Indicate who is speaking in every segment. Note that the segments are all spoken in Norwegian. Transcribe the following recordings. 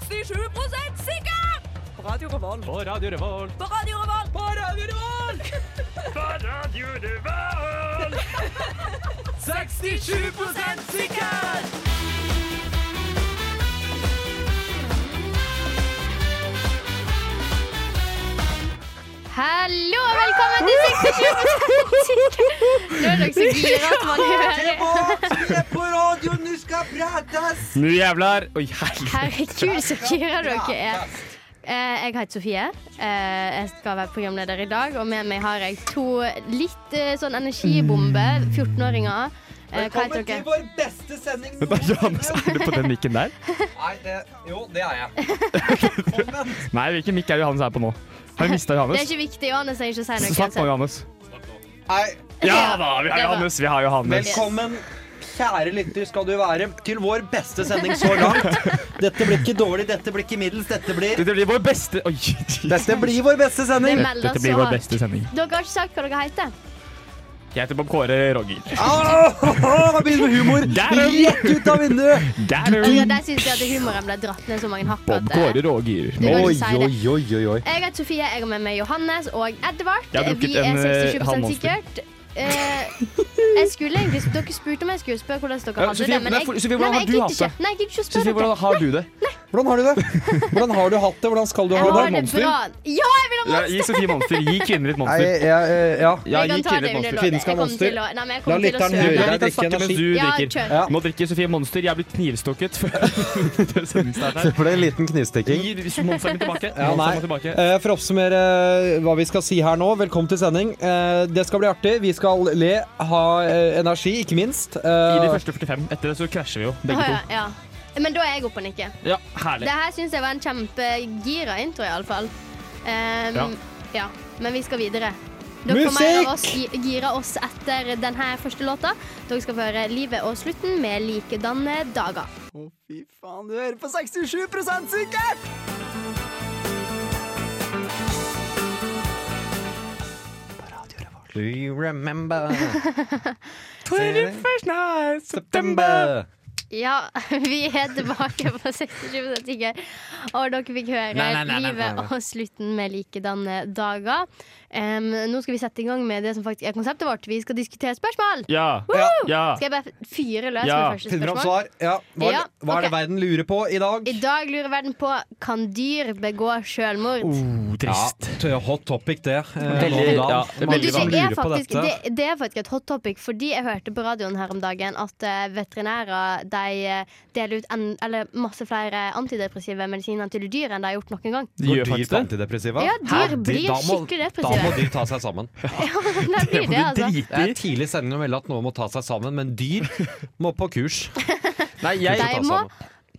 Speaker 1: 97 sikker! På Radio Revolt.
Speaker 2: På Radio Revolt.
Speaker 1: På Radio Revolt. På Radio Revolt!
Speaker 2: 67 sikker!
Speaker 3: Hallo og velkommen til 67 sikker! Nå er dere så gira at man hører
Speaker 4: Vi er på radioen, nå skal prates!
Speaker 2: Nå jævlar. Oi, helvete.
Speaker 3: Herregud, så gira dere er. Eh, Jeg heter Sofie. Eh, Jeg skal være programleder i dag, og med meg har jeg to litt eh, sånn energibomber, 14-åringer. Eh, Hva
Speaker 4: Velkommen
Speaker 3: heter
Speaker 4: til
Speaker 3: dere?
Speaker 4: vår beste sending
Speaker 2: Vent da, Johannes,
Speaker 4: noensinne.
Speaker 2: er du på den mikken der?
Speaker 4: Nei, det, jo, det er jeg. Velkommen.
Speaker 2: Nei, hvilken mikk er Johannes her på nå? Har vi mista
Speaker 3: Det er
Speaker 2: Johannes?
Speaker 3: ikke viktig, Johannes trenger ikke å si noe.
Speaker 2: Snakk nå, Johannes.
Speaker 4: Nei,
Speaker 2: Ja da, vi har Johannes. Vi har Johannes.
Speaker 4: velkommen, kjære lytter, skal du være til vår beste sending så langt. Dette blir ikke dårlig, dette blir ikke middels, dette blir
Speaker 2: Dette blir vår beste Oi, Jesus.
Speaker 4: Dette blir vår beste
Speaker 3: Det
Speaker 4: sending.
Speaker 3: melder
Speaker 2: Dette blir
Speaker 3: så
Speaker 2: vår
Speaker 3: hardt.
Speaker 2: beste sending.
Speaker 3: Dere har ikke sagt hva dere heter.
Speaker 2: Jeg heter Bob Kåre Roger.
Speaker 4: Åh, Begynner med humor
Speaker 2: Der er den.
Speaker 4: rett ut av vinduet.
Speaker 3: Eller Altså, der syns jeg at humoren ble dratt ned så mange hakk
Speaker 2: Bob
Speaker 3: at eh,
Speaker 2: Kåre Roger.
Speaker 3: Du kan
Speaker 2: Oi.
Speaker 3: ikke si det.
Speaker 4: oi, oi, oi.
Speaker 3: Jeg heter Sofie, jeg er med meg Johannes og Edvard.
Speaker 2: Jeg har drukket
Speaker 3: Vi er
Speaker 2: en, eh,
Speaker 3: 67
Speaker 2: halv monster.
Speaker 3: sikkert. Eh, jeg skulle egentlig, Dere spurte om jeg skulle spørre hvordan dere
Speaker 2: Ja,
Speaker 3: hadde
Speaker 2: Sofie,
Speaker 3: det. Men
Speaker 2: nei,
Speaker 3: jeg,
Speaker 2: for- Sofie, hvordan
Speaker 3: nei,
Speaker 2: har
Speaker 3: jeg
Speaker 2: du
Speaker 3: gidder
Speaker 2: hatt det?
Speaker 3: ikke. Nei, jeg gidder ikke å
Speaker 2: Sofie,
Speaker 3: spørre
Speaker 2: hvordan
Speaker 3: dere.
Speaker 2: har du det?
Speaker 4: Hvordan har du det? Hvordan har du hatt det? Hvordan skal du
Speaker 3: Jeg
Speaker 4: ha det?
Speaker 3: har det
Speaker 2: Monster?
Speaker 3: bra. Ja, jeg vil ha
Speaker 2: Ja,
Speaker 3: monster!
Speaker 2: gi Sofie Monster. Gi kvinner litt
Speaker 4: Nei,
Speaker 2: monster.
Speaker 4: jeg, eh, ja.
Speaker 2: Ja,
Speaker 3: jeg
Speaker 2: gi
Speaker 3: kan
Speaker 2: kvinner
Speaker 3: ta det
Speaker 2: litt
Speaker 3: under
Speaker 2: monster.
Speaker 3: låten.
Speaker 4: Kvinner
Speaker 3: Jeg
Speaker 4: skal
Speaker 3: kommer
Speaker 4: monster.
Speaker 3: til å- Nei, men jeg
Speaker 4: La
Speaker 3: kommer til å
Speaker 4: lytteren høre
Speaker 2: Vi kan
Speaker 3: søle.
Speaker 4: deg. drikke
Speaker 2: snakke mens
Speaker 4: energi.
Speaker 2: du
Speaker 3: Ja,
Speaker 2: drikker.
Speaker 3: kjør.
Speaker 4: Ja.
Speaker 2: Nå drikker Sofie Monster. Jeg blir knivstukket før sendingsstarten.
Speaker 4: ble en liten knivstikking.
Speaker 2: Gi monsteren min tilbake.
Speaker 4: Ja, nei.
Speaker 2: Monsteren må tilbake.
Speaker 4: Eh, For å oppsummere eh, hva vi skal si her nå, velkommen til sending. Eh, Det skal bli artig. Vi skal le, ha eh, energi, ikke minst.
Speaker 2: I de
Speaker 4: Eh,
Speaker 2: første 45. Etter det så krasjer vi jo,
Speaker 3: Å,
Speaker 2: begge
Speaker 3: ja,
Speaker 2: to.
Speaker 3: ja. Men da er jeg oppe og nikker.
Speaker 2: Ja, herlig.
Speaker 3: Det her syns jeg var en kjempegira intro, iallfall.
Speaker 2: Ja.
Speaker 3: Um, ja. Men vi skal videre. Dere får mer av oss, gi- gira oss etter denne første låta. Dere skal få høre 'Livet og slutten' med likedanne dager.
Speaker 4: Å, fy faen, du hører på 67 sikkert! Do you remember? 21st night September.
Speaker 3: Ja, vi er tilbake på 67 sikker. Og dere fikk høre
Speaker 4: Nei, nei, nei, nei, nei,
Speaker 3: livet
Speaker 4: nei.
Speaker 3: og slutten med likedanne dager. Em, nå skal vi sette i gang med det som faktisk er konseptet vårt. Vi skal diskutere spørsmål.
Speaker 2: Ja.
Speaker 4: Ja.
Speaker 2: Ja.
Speaker 3: Skal jeg bare fyre løs
Speaker 2: Ja.
Speaker 3: med første
Speaker 4: Finner opp
Speaker 3: spørsmål?
Speaker 4: svar. Ja. Hva,
Speaker 3: Ja,
Speaker 4: hva er det
Speaker 3: ok.
Speaker 4: verden lurer på i dag?
Speaker 3: I dag lurer verden på kan dyr begå sjølmord.
Speaker 2: Oh, trist.
Speaker 4: Ja, t- hot topic, det. eh,
Speaker 2: Veldig-
Speaker 4: nå om dagen.
Speaker 2: ja,
Speaker 4: Mange
Speaker 3: Men du,
Speaker 2: Veldig
Speaker 4: som
Speaker 3: det, er
Speaker 4: lurer på
Speaker 3: faktisk,
Speaker 4: dette.
Speaker 3: det, det er faktisk et hot topic, fordi jeg hørte på radioen her om dagen at eh, veterinærer de eh, deler ut en, eller masse flere antidepressive medisiner til dyr enn de har gjort noen gang.
Speaker 2: De gjør faktisk det.
Speaker 4: antidepressiva?
Speaker 3: Ja,
Speaker 2: Hæ?
Speaker 3: dyr
Speaker 2: De-
Speaker 3: blir
Speaker 4: da må-
Speaker 3: skikkelig
Speaker 4: Da må
Speaker 3: depressive.
Speaker 4: de ta seg sammen.
Speaker 3: De
Speaker 2: Det
Speaker 3: blir
Speaker 2: må
Speaker 3: det,
Speaker 2: du
Speaker 3: altså.
Speaker 2: drite
Speaker 4: Det er
Speaker 2: i.
Speaker 4: tidlig i sendingen å melde at noen må ta seg sammen, men dyr må på kurs.
Speaker 2: Nei, jeg
Speaker 3: De må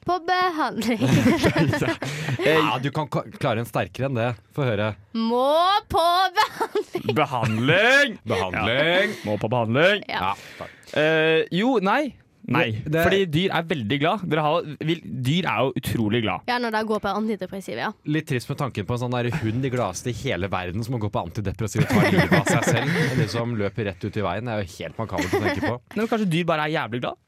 Speaker 3: på behandling.
Speaker 4: Ja, du kan ka- klare en sterkere enn det. Få høre.
Speaker 3: Må på behandling.
Speaker 2: Behandling!
Speaker 4: Behandling.
Speaker 2: Må på behandling.
Speaker 3: Ja.
Speaker 4: Ja, takk.
Speaker 2: Eh, jo, nei. Nei,
Speaker 4: Det- det-
Speaker 2: fordi dyr er veldig glad. Dere har, vil, dyr er jo utrolig glad.
Speaker 3: Ja, når de går på antidepressiva, ja.
Speaker 4: Litt trist med tanken på en sånn der hund i gladeste i hele verden som må gå på antidepressiva og ta livet av seg selv. Eller som løper rett ut i veien. Det er jo helt makabert å tenke på.
Speaker 2: Men kanskje dyr bare er jævlig glad?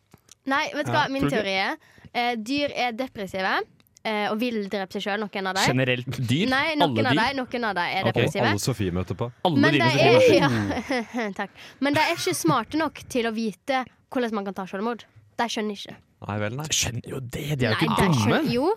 Speaker 3: Nei, vet du hva
Speaker 2: Ja,
Speaker 3: min
Speaker 2: tror du-
Speaker 3: teori er? Eh, dyr er depressive eh, og vil drepe seg sjøl, noen av dem.
Speaker 2: Generelt dyr?
Speaker 3: Nei,
Speaker 2: alle
Speaker 3: noen av
Speaker 2: dyr?
Speaker 3: dem noen av de er
Speaker 2: Ok,
Speaker 3: depressive.
Speaker 4: Alle Sofie møter på.
Speaker 2: Alle
Speaker 3: Men de,
Speaker 2: dyrene som
Speaker 3: er,
Speaker 2: finnes.
Speaker 3: ja. Takk. Men de er ikke smarte nok til å vite hvordan man kan ta selvmord. De skjønner ikke.
Speaker 4: Nei vel, nei.
Speaker 2: Skjønner jo det, de er jo
Speaker 3: Nei,
Speaker 2: ikke
Speaker 3: de
Speaker 2: dumme.
Speaker 3: skjønner Jo.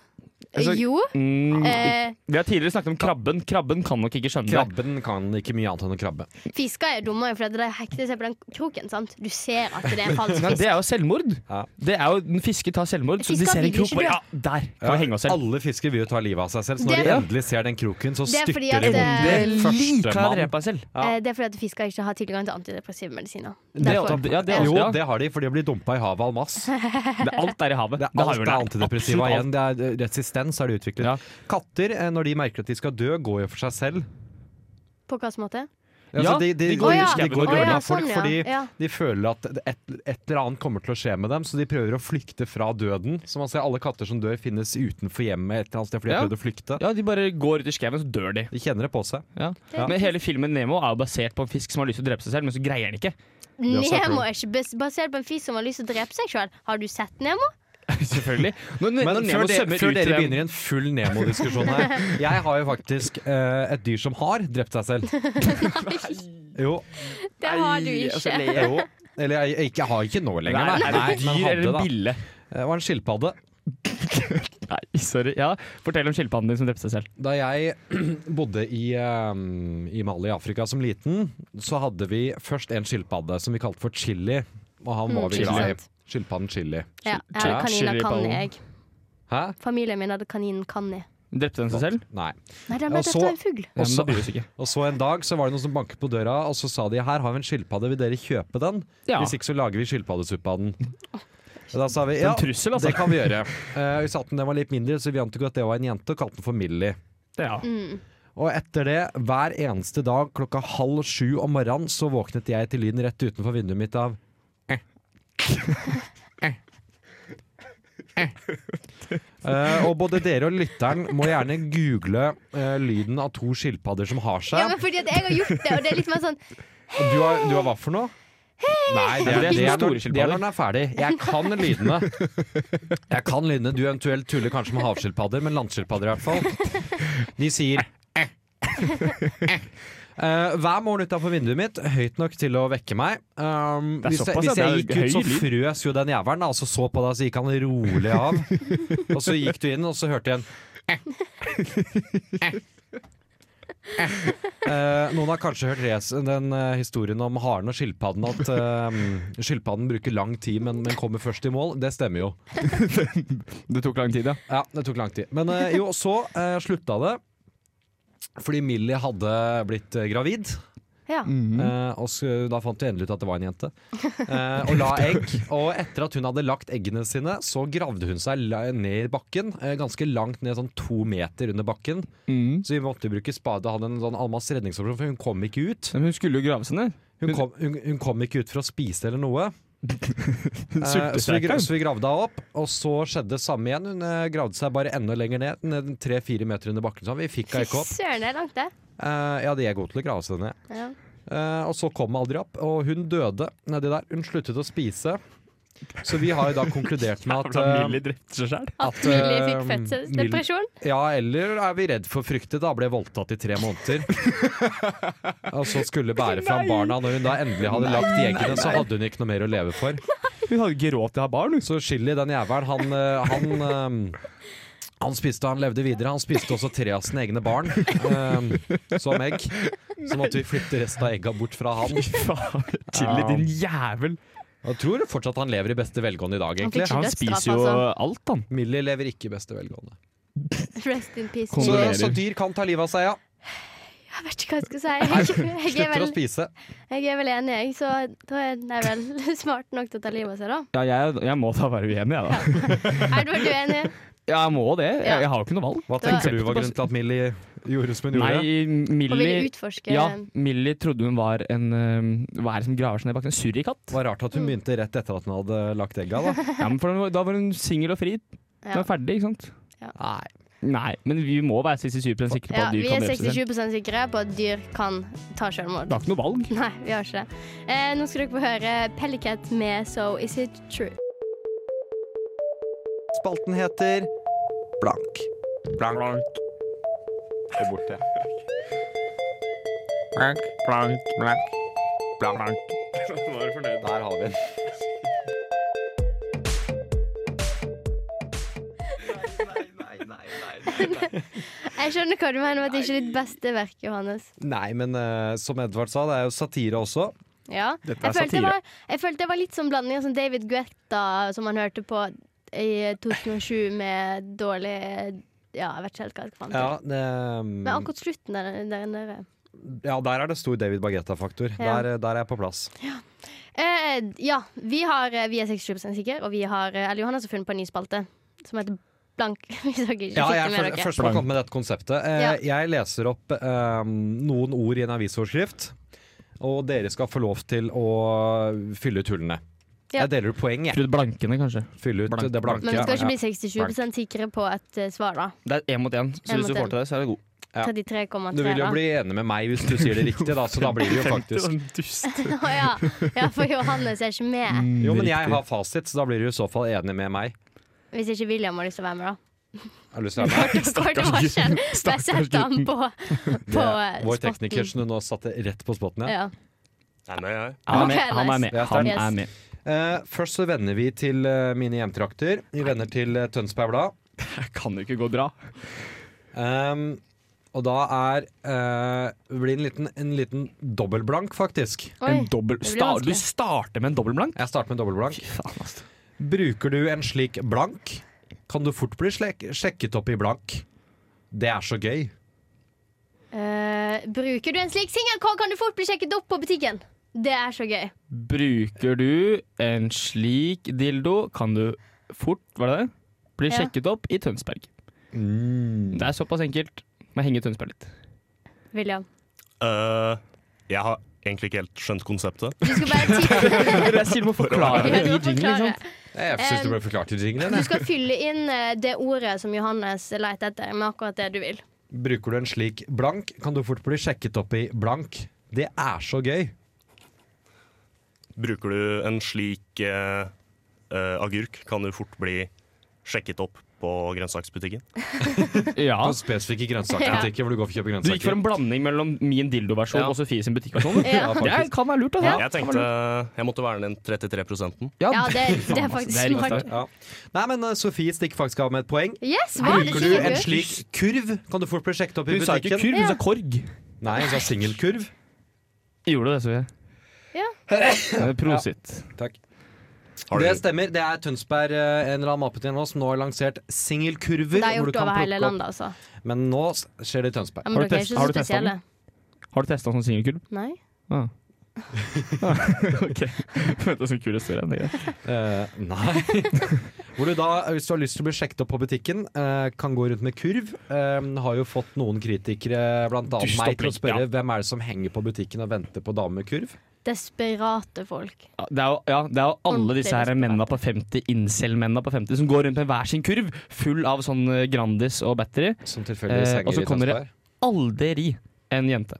Speaker 2: Altså,
Speaker 3: Jo.
Speaker 2: Mm,
Speaker 3: Eh,
Speaker 2: vi har tidligere snakket om krabben. Krabben kan nok ikke skjønne det.
Speaker 4: Krabben kan ikke mye annet enn å krabbe.
Speaker 3: fisker er dumme fordi de hekter seg på den kroken. sant? Du ser at det er en falsk
Speaker 2: Men
Speaker 3: fisk.
Speaker 2: det er jo selvmord.
Speaker 4: Ja.
Speaker 2: Det er jo, en fiske tar selvmord, så
Speaker 3: Fisker
Speaker 2: de ser en
Speaker 3: vil
Speaker 2: krok
Speaker 3: ikke
Speaker 2: bare,
Speaker 3: dø.
Speaker 2: Ja, der kan vi henge oss selv.
Speaker 4: Alle fisker vil jo ta livet av seg selv, så når
Speaker 3: Det-
Speaker 4: de endelig ser den kroken, så
Speaker 3: Det er
Speaker 4: styrter
Speaker 3: fordi
Speaker 4: de
Speaker 3: at, eh,
Speaker 4: hodet.
Speaker 2: Kan jeg
Speaker 4: Førstemann.
Speaker 2: drepe meg selv?
Speaker 4: Ja.
Speaker 3: Eh, Det er fordi at fisker ikke har tilgang til antidepressive medisiner.
Speaker 2: Det er,
Speaker 3: Derfor.
Speaker 2: ja, det er,
Speaker 4: Jo,
Speaker 2: ja.
Speaker 4: det har de, for de blir dumpa i havet av masse.
Speaker 2: Det er alt der i havet.
Speaker 4: Det er
Speaker 2: Det har
Speaker 4: alt
Speaker 2: vi
Speaker 4: det er
Speaker 2: lært.
Speaker 4: antidepressiva
Speaker 2: Absolutt alt.
Speaker 4: igjen. Det er eh, resistens er det utviklet.
Speaker 2: Ja.
Speaker 4: Katter, eh, når de merker at de skal dø, går jo for seg selv.
Speaker 3: På hvilken måte?
Speaker 4: Altså,
Speaker 2: Ja,
Speaker 4: de, de,
Speaker 2: de
Speaker 4: de,
Speaker 2: går
Speaker 3: i
Speaker 4: de,
Speaker 2: skauen
Speaker 4: går
Speaker 2: og
Speaker 4: i
Speaker 2: gjør
Speaker 4: hjørnet
Speaker 3: det.
Speaker 4: av folk
Speaker 3: Sånn, ja.
Speaker 4: fordi
Speaker 3: Ja.
Speaker 4: de føler at et, et eller annet kommer til å skje med dem, så de prøver å flykte fra døden. Som man ser, alle katter som dør, finnes utenfor hjemmet et eller annet sted fordi de
Speaker 2: Ja.
Speaker 4: har prøvd å flykte.
Speaker 2: Ja, de bare går ut i skauen, og så dør de.
Speaker 4: De kjenner det på seg.
Speaker 2: Ja.
Speaker 3: Ja.
Speaker 2: Men hele filmen Nemo er jo basert på en fisk som har lyst til å drepe seg selv, men så greier han ikke.
Speaker 4: er også et
Speaker 3: Nemo er ikke bas- basert på en fisk som har lyst til å drepe seg sjøl. Har du sett Nemo?
Speaker 5: Selvfølgelig. Når, når,
Speaker 4: Men
Speaker 5: når
Speaker 4: før,
Speaker 5: Nemo
Speaker 4: de,
Speaker 5: svømmer
Speaker 4: før
Speaker 5: ut i
Speaker 4: dere
Speaker 5: den-
Speaker 4: begynner i en full Nemo-diskusjon her Jeg har jo faktisk eh, et dyr som har drept seg selv. Jo.
Speaker 3: Det har du
Speaker 5: Nei, altså,
Speaker 3: ikke.
Speaker 5: le-
Speaker 4: jo. Eller jeg, jeg, ikke, jeg har ikke nå
Speaker 5: Nei,
Speaker 4: lenger,
Speaker 5: er det
Speaker 4: men
Speaker 5: dyr
Speaker 4: hadde
Speaker 5: eller
Speaker 4: da.
Speaker 5: en bille?
Speaker 4: Det var Eh, en skilpadde.
Speaker 5: Nei, sorry. Ja, fortell om skilpadden din som drepte seg selv.
Speaker 4: Da jeg bodde i, eh, i Mali i Afrika som liten, så hadde vi først en skilpadde som vi kalte for Chili. Og han var
Speaker 3: Mm,
Speaker 4: vi
Speaker 3: Chili,
Speaker 4: glad i.
Speaker 3: sant.
Speaker 4: Skilpadden Chili.
Speaker 3: Ja, jeg
Speaker 5: Ja.
Speaker 3: hadde kaniner kan
Speaker 5: Chiliballen.
Speaker 3: jeg.
Speaker 4: Hæ?
Speaker 3: Familien min hadde kaninen Kanni.
Speaker 5: Drepte den seg selv?
Speaker 4: Nei.
Speaker 3: Nei, den ble
Speaker 4: Og
Speaker 3: drept
Speaker 4: så-
Speaker 3: av en fugl.
Speaker 5: Ja, men
Speaker 4: Også-
Speaker 5: da blir det ikke.
Speaker 4: Og så en dag så var det noen som banket på døra, og så sa de her har vi en skilpadde, vil dere kjøpe den?
Speaker 5: Ja.
Speaker 4: Hvis ikke så lager vi skilpaddesuppe av den. Og da sa vi
Speaker 5: En
Speaker 4: ja,
Speaker 5: trussel, altså.
Speaker 4: det kan vi gjøre. Eh, vi satte den, den var litt mindre, så vi antok at det var en jente, og kalte den for Millie.
Speaker 5: Ja.
Speaker 3: Mm.
Speaker 4: Og etter det, hver eneste dag klokka halv sju om morgenen, så våknet jeg til lyden rett utenfor vinduet mitt av eh. Eh. Eh. Eh, og både dere og lytteren må gjerne google eh, lyden av to skilpadder som har seg.
Speaker 3: Ja, men fordi at jeg har gjort det, og det er litt mer sånn
Speaker 4: Du har, du har hva for noe? Nei, det er, det, er,
Speaker 5: Det er
Speaker 4: når-
Speaker 5: store
Speaker 4: det er
Speaker 5: skilpadder.
Speaker 4: når den er ferdig. Jeg kan lydene. Jeg kan lydene. Du eventuelt tuller kanskje med havskilpadder, men landskilpadder i hvert fall. De sier eh, eh. Eh, hver morgen utafor vinduet mitt, høyt nok til å vekke meg. Um,
Speaker 5: Det er
Speaker 4: hvis, jeg,
Speaker 5: såpass, ja.
Speaker 4: hvis jeg
Speaker 5: Det
Speaker 4: gikk
Speaker 5: er
Speaker 4: ut, så
Speaker 5: høy
Speaker 4: frøs jo den jævelen, da, og så så på deg, så gikk han rolig av. Og så gikk du inn, og så hørte jeg en
Speaker 5: Eh.
Speaker 4: Eh, noen har kanskje hørt res den eh, historien om haren og skilpadden. At eh, skilpadden bruker lang tid, men, men kommer først i mål. Det stemmer jo.
Speaker 5: Det tok lang tid, ja.
Speaker 4: Ja, det tok lang tid. Men eh, jo, så eh, slutta det. Fordi Millie hadde blitt eh, gravid,
Speaker 3: Ja.
Speaker 4: eh, og så, da fant vi endelig ut at det var en jente. Eh, og la egg. Og etter at hun hadde lagt eggene sine, så gravde hun seg la- ned i bakken. eh, ganske langt ned, sånn to meter under bakken.
Speaker 2: Mm.
Speaker 4: Så vi måtte bruke spade og hadde en sånn Almas redningsoperasjon, for hun kom ikke ut.
Speaker 5: Men hun skulle jo grave seg ned.
Speaker 4: Hun kom, hun, hun kom ikke ut for å spise eller noe. Eh, så, vi,
Speaker 5: Sultestreik,
Speaker 4: gra-
Speaker 5: hun.
Speaker 4: så vi gravde henne opp, og så skjedde det samme igjen. Hun eh, gravde seg bare enda lenger ned, ned tre-fire meter under bakken. Sånn. Vi fikk
Speaker 3: Fy
Speaker 4: henne ikke opp.
Speaker 3: søren, det er langt, det.
Speaker 4: Eh, ja, de er gode til å grave seg ned.
Speaker 3: Ja.
Speaker 4: Eh, og så kom hun aldri opp, og hun døde nedi der. Hun sluttet å spise. Så vi har jo da konkludert med at eh,
Speaker 5: Millie drepte seg selv.
Speaker 3: At
Speaker 4: At,
Speaker 3: Millie
Speaker 4: eh,
Speaker 3: fikk fødselsdepresjon.
Speaker 4: Ja, eller er vi redd for fryktet? Da ble voldtatt i tre måneder. og så skulle bære fram barna. Når hun da endelig hadde lagt de eggene, så hadde hun ikke noe mer å leve for.
Speaker 5: Hun hadde ikke råd til å ha barn. hun.
Speaker 4: Så Chili, den jævelen, han, eh, han, eh, han spiste og han levde videre. Han spiste også tre av sine egne barn eh, som egg. Så måtte vi flytte resten av egga bort fra han.
Speaker 5: Fy faen, Chili, din jævel.
Speaker 4: Jeg tror fortsatt han lever i beste velgående i dag,
Speaker 3: Han fikk
Speaker 4: egentlig.
Speaker 3: ikke
Speaker 5: Han
Speaker 3: dødsstraff,
Speaker 5: spiser jo
Speaker 3: altså.
Speaker 5: alt, han.
Speaker 4: Millie lever ikke i beste velgående.
Speaker 3: Rest in peace.
Speaker 4: Så,
Speaker 5: Kondolerer.
Speaker 4: så dyr kan ta livet av seg, ja.
Speaker 3: Jeg vet ikke hva jeg skal si. Jeg, jeg, er,
Speaker 4: Slutter å
Speaker 3: vel,
Speaker 4: spise.
Speaker 3: jeg er vel enig, jeg. Så da er den vel smart nok til å ta livet av seg, da.
Speaker 5: Ja, jeg, jeg må da være uenig, jeg, da.
Speaker 3: Edvard, du er enig?
Speaker 5: Ja, jeg må det. Jeg, jeg har jo ikke noe valg.
Speaker 4: Hva
Speaker 3: Da-
Speaker 4: tenker du var grunnen til at Millie gjorde som hun gjorde?
Speaker 5: Nei,
Speaker 3: Og vil
Speaker 5: Millie
Speaker 3: utforske
Speaker 5: ja, Millie trodde hun var en øhm, Hva er det som graver seg ned bak en surikatt?
Speaker 4: Det var rart at hun begynte rett etter at hun hadde lagt egga, da.
Speaker 5: Ja, men for da var- da var hun singel og fri. Hun
Speaker 3: Ja.
Speaker 5: var ferdig, ikke sant?
Speaker 4: Nei.
Speaker 5: Nei, men vi må være 67 sikre på
Speaker 3: Ja,
Speaker 5: at dyr
Speaker 3: vi
Speaker 5: kan
Speaker 3: er
Speaker 5: drepe seg selv.
Speaker 3: 67 sikre på at dyr kan ta selvmord.
Speaker 5: Det er ikke noe valg.
Speaker 3: Nei, vi har ikke det. Eh, nå skal dere få høre Pellicat med So Is It True.
Speaker 4: Spalten heter Blank.
Speaker 2: Blank. Det er borte. Blank, blank, blank. Blank.
Speaker 4: Der har vi den.
Speaker 3: Jeg skjønner hva du mener med at det ikke er ditt beste verk, Johannes.
Speaker 4: Nei, men eh, som Edvard sa, det er jo satire også.
Speaker 3: Ja.
Speaker 5: Dette er
Speaker 3: Jeg følte, det
Speaker 5: satire.
Speaker 3: var, jeg følte det var litt som blanding av sånn David Guetta, som han hørte på i 2007 med dårlig Ja, jeg vet ikke helt hva jeg skal fant til.
Speaker 4: Ja, ehm, det-
Speaker 3: Men akkurat slutten der, der nede
Speaker 4: ja der er det stor David Baghetta-faktor.
Speaker 3: Ja.
Speaker 4: Der, der er jeg på plass.
Speaker 3: eh, Ja, vi, har, eh, vi er 67 sikre, og vi har eh, Eller Johannes har funnet på en ny spalte som heter Blank. Vi skal ikke
Speaker 4: Ja,
Speaker 3: sjekke
Speaker 4: jeg er
Speaker 3: med
Speaker 4: først-
Speaker 3: dere.
Speaker 4: først må komme med dette konseptet. Eh, Jeg leser opp eh, noen ord i en avisoverskrift, og dere skal få lov til å fylle ut hullene.
Speaker 3: Ja.
Speaker 4: Jeg deler ut poeng, jeg.
Speaker 5: Frud Blankene, kanskje.
Speaker 4: Fylle ut
Speaker 5: Blank.
Speaker 4: det blanke.
Speaker 3: Men vi skal
Speaker 4: Ja.
Speaker 3: ikke bli 67 sikre på et eh, svar, da.
Speaker 5: Det er én mot én,
Speaker 3: En mot en.
Speaker 5: til det, så er det god.
Speaker 4: Ja.
Speaker 3: 33,3.
Speaker 4: Du vil jo
Speaker 3: da.
Speaker 4: bli enig med meg hvis du sier det riktig, da, så da blir det jo faktisk
Speaker 3: Å ja. ja, for Johannes er ikke med.
Speaker 4: Mm. Jo, men jeg har fasit, så da blir du i så fall enig med meg.
Speaker 3: Hvis ikke William har lyst til å være med, da.
Speaker 4: Har du lyst til å være med?
Speaker 3: Stakkars gutten. Jeg setter han på, på
Speaker 4: Det- Vår
Speaker 3: spotten.
Speaker 4: tekniker som du nå satte rett på spotten. Ja.
Speaker 3: Ja.
Speaker 6: Nei, nei, nei.
Speaker 2: Han er
Speaker 3: Ok,
Speaker 2: med. Han er
Speaker 3: nice.
Speaker 2: med.
Speaker 4: Det er
Speaker 2: Han
Speaker 3: sterkt.
Speaker 2: er med.
Speaker 4: Eh, først så vender vi til eh, mine hjemtrakter. Vi vender til uh, Tønsberg Blad.
Speaker 2: Jeg kan jo ikke gå bra.
Speaker 4: Ehm, og da er eh, blir det en liten, en liten dobbeltblank, faktisk.
Speaker 3: Oi.
Speaker 2: En dobbel,
Speaker 3: blir
Speaker 2: sta, du
Speaker 3: vanskelig.
Speaker 2: starter med en dobbeltblank?
Speaker 4: Jeg starter med dobbeltblank.
Speaker 2: Fy faen, ass.
Speaker 4: Bruker du en slik blank, kan du fort bli slek sjekket opp i blank. Det er så gøy.
Speaker 3: Eh, bruker du en slik singelkål, kan du fort bli sjekket opp på butikken. Det er så gøy.
Speaker 2: Bruker du en slik dildo, kan du fort var det det? bli
Speaker 3: Ja.
Speaker 2: sjekket opp i Tønsberg. Det er såpass enkelt. Må henge i Tønsberg litt.
Speaker 3: William.
Speaker 6: Eh, jeg har egentlig ikke helt skjønt konseptet.
Speaker 3: Du skal bare tippe.
Speaker 2: Jeg sier du må forklare det i
Speaker 3: Ja, du må
Speaker 2: jingle.
Speaker 3: forklare.
Speaker 2: Liksom.
Speaker 4: Jeg syns det ble forklart i jinglen.
Speaker 3: Du
Speaker 4: jeg.
Speaker 3: skal fylle inn eh, det ordet som Johannes leter etter, med akkurat det du vil.
Speaker 4: Bruker du en slik blank, kan du fort bli sjekket opp i blank. Det er så gøy.
Speaker 6: Bruker du en slik eh, eh, agurk, kan du fort bli sjekket opp på grønnsaksbutikken.
Speaker 2: Ja.
Speaker 4: På spesifikke grønnsakbutikker hvor du går for å kjøpe
Speaker 2: Du gikk for
Speaker 4: grønnsaker.
Speaker 2: en blanding mellom min dildoversjon
Speaker 4: Ja.
Speaker 2: og Sofie sin butikkversjon. da.
Speaker 3: Ja.
Speaker 2: Det er- kan være lurt. Altså.
Speaker 6: Jeg tenkte jeg måtte verne den 33
Speaker 3: Ja, det, det
Speaker 2: altså. Det er
Speaker 3: er faktisk
Speaker 2: rimelig
Speaker 3: smart.
Speaker 2: sterkt.
Speaker 4: Ja. Nei, men eh, Sofie stikker faktisk av med et poeng.
Speaker 3: Yes, hva? Det
Speaker 4: Bruker du
Speaker 3: sier
Speaker 4: en
Speaker 3: du.
Speaker 4: slik kurv, kan du fort bli sjekket opp i
Speaker 2: Hun sa ikke
Speaker 4: butikken.
Speaker 2: kurv, hun sa korg.
Speaker 4: Nei, hun sa singelkurv.
Speaker 2: Gjorde du det, Sofie?
Speaker 3: Ja.
Speaker 2: Eh, Prosit.
Speaker 4: Takk.
Speaker 6: Har
Speaker 4: Det
Speaker 6: du,
Speaker 4: stemmer. Det er Tønsberg eh, en eller annen matbutikk nå som nå har lansert
Speaker 3: Det
Speaker 4: singelkurver.
Speaker 3: er
Speaker 4: hvor du
Speaker 3: gjort
Speaker 4: kan
Speaker 3: over hele
Speaker 4: plukke opp-
Speaker 3: landet, altså.
Speaker 4: Men nå s- skjer det i Tønsberg.
Speaker 3: Ja, men
Speaker 2: Har du
Speaker 3: dere er
Speaker 2: test-
Speaker 3: ikke
Speaker 2: har
Speaker 3: så
Speaker 2: du testet den?
Speaker 3: spesielle.
Speaker 2: Har du testa sånn singelkurv?
Speaker 3: Nei.
Speaker 2: Ah. ok. Vent, det er så kul historie. men det er greit.
Speaker 4: Eh, nei. Hvor du da, eh, hvis du har lyst til å bli sjekket opp på butikken, eh, kan gå rundt med kurv. Eh, har jo fått noen kritikere, blant annet
Speaker 2: Dust
Speaker 4: meg, til å
Speaker 2: opplegg,
Speaker 4: spørre
Speaker 2: ja.
Speaker 4: hvem er det som henger på butikken og venter på damer med kurv.
Speaker 3: Desperate folk.
Speaker 2: Ja, Det er jo, ja, det er jo alle
Speaker 3: Ordentlig
Speaker 2: disse her
Speaker 3: desperat.
Speaker 2: mennene på 50, incel-mennene på 50, som går rundt med hver sin kurv full av sånn eh, Grandis og battery.
Speaker 4: Som tilfeldigvis
Speaker 2: Eh, og
Speaker 4: henger
Speaker 2: så
Speaker 4: i
Speaker 2: kommer det-
Speaker 4: Tønsberg.
Speaker 2: Aldri en jente.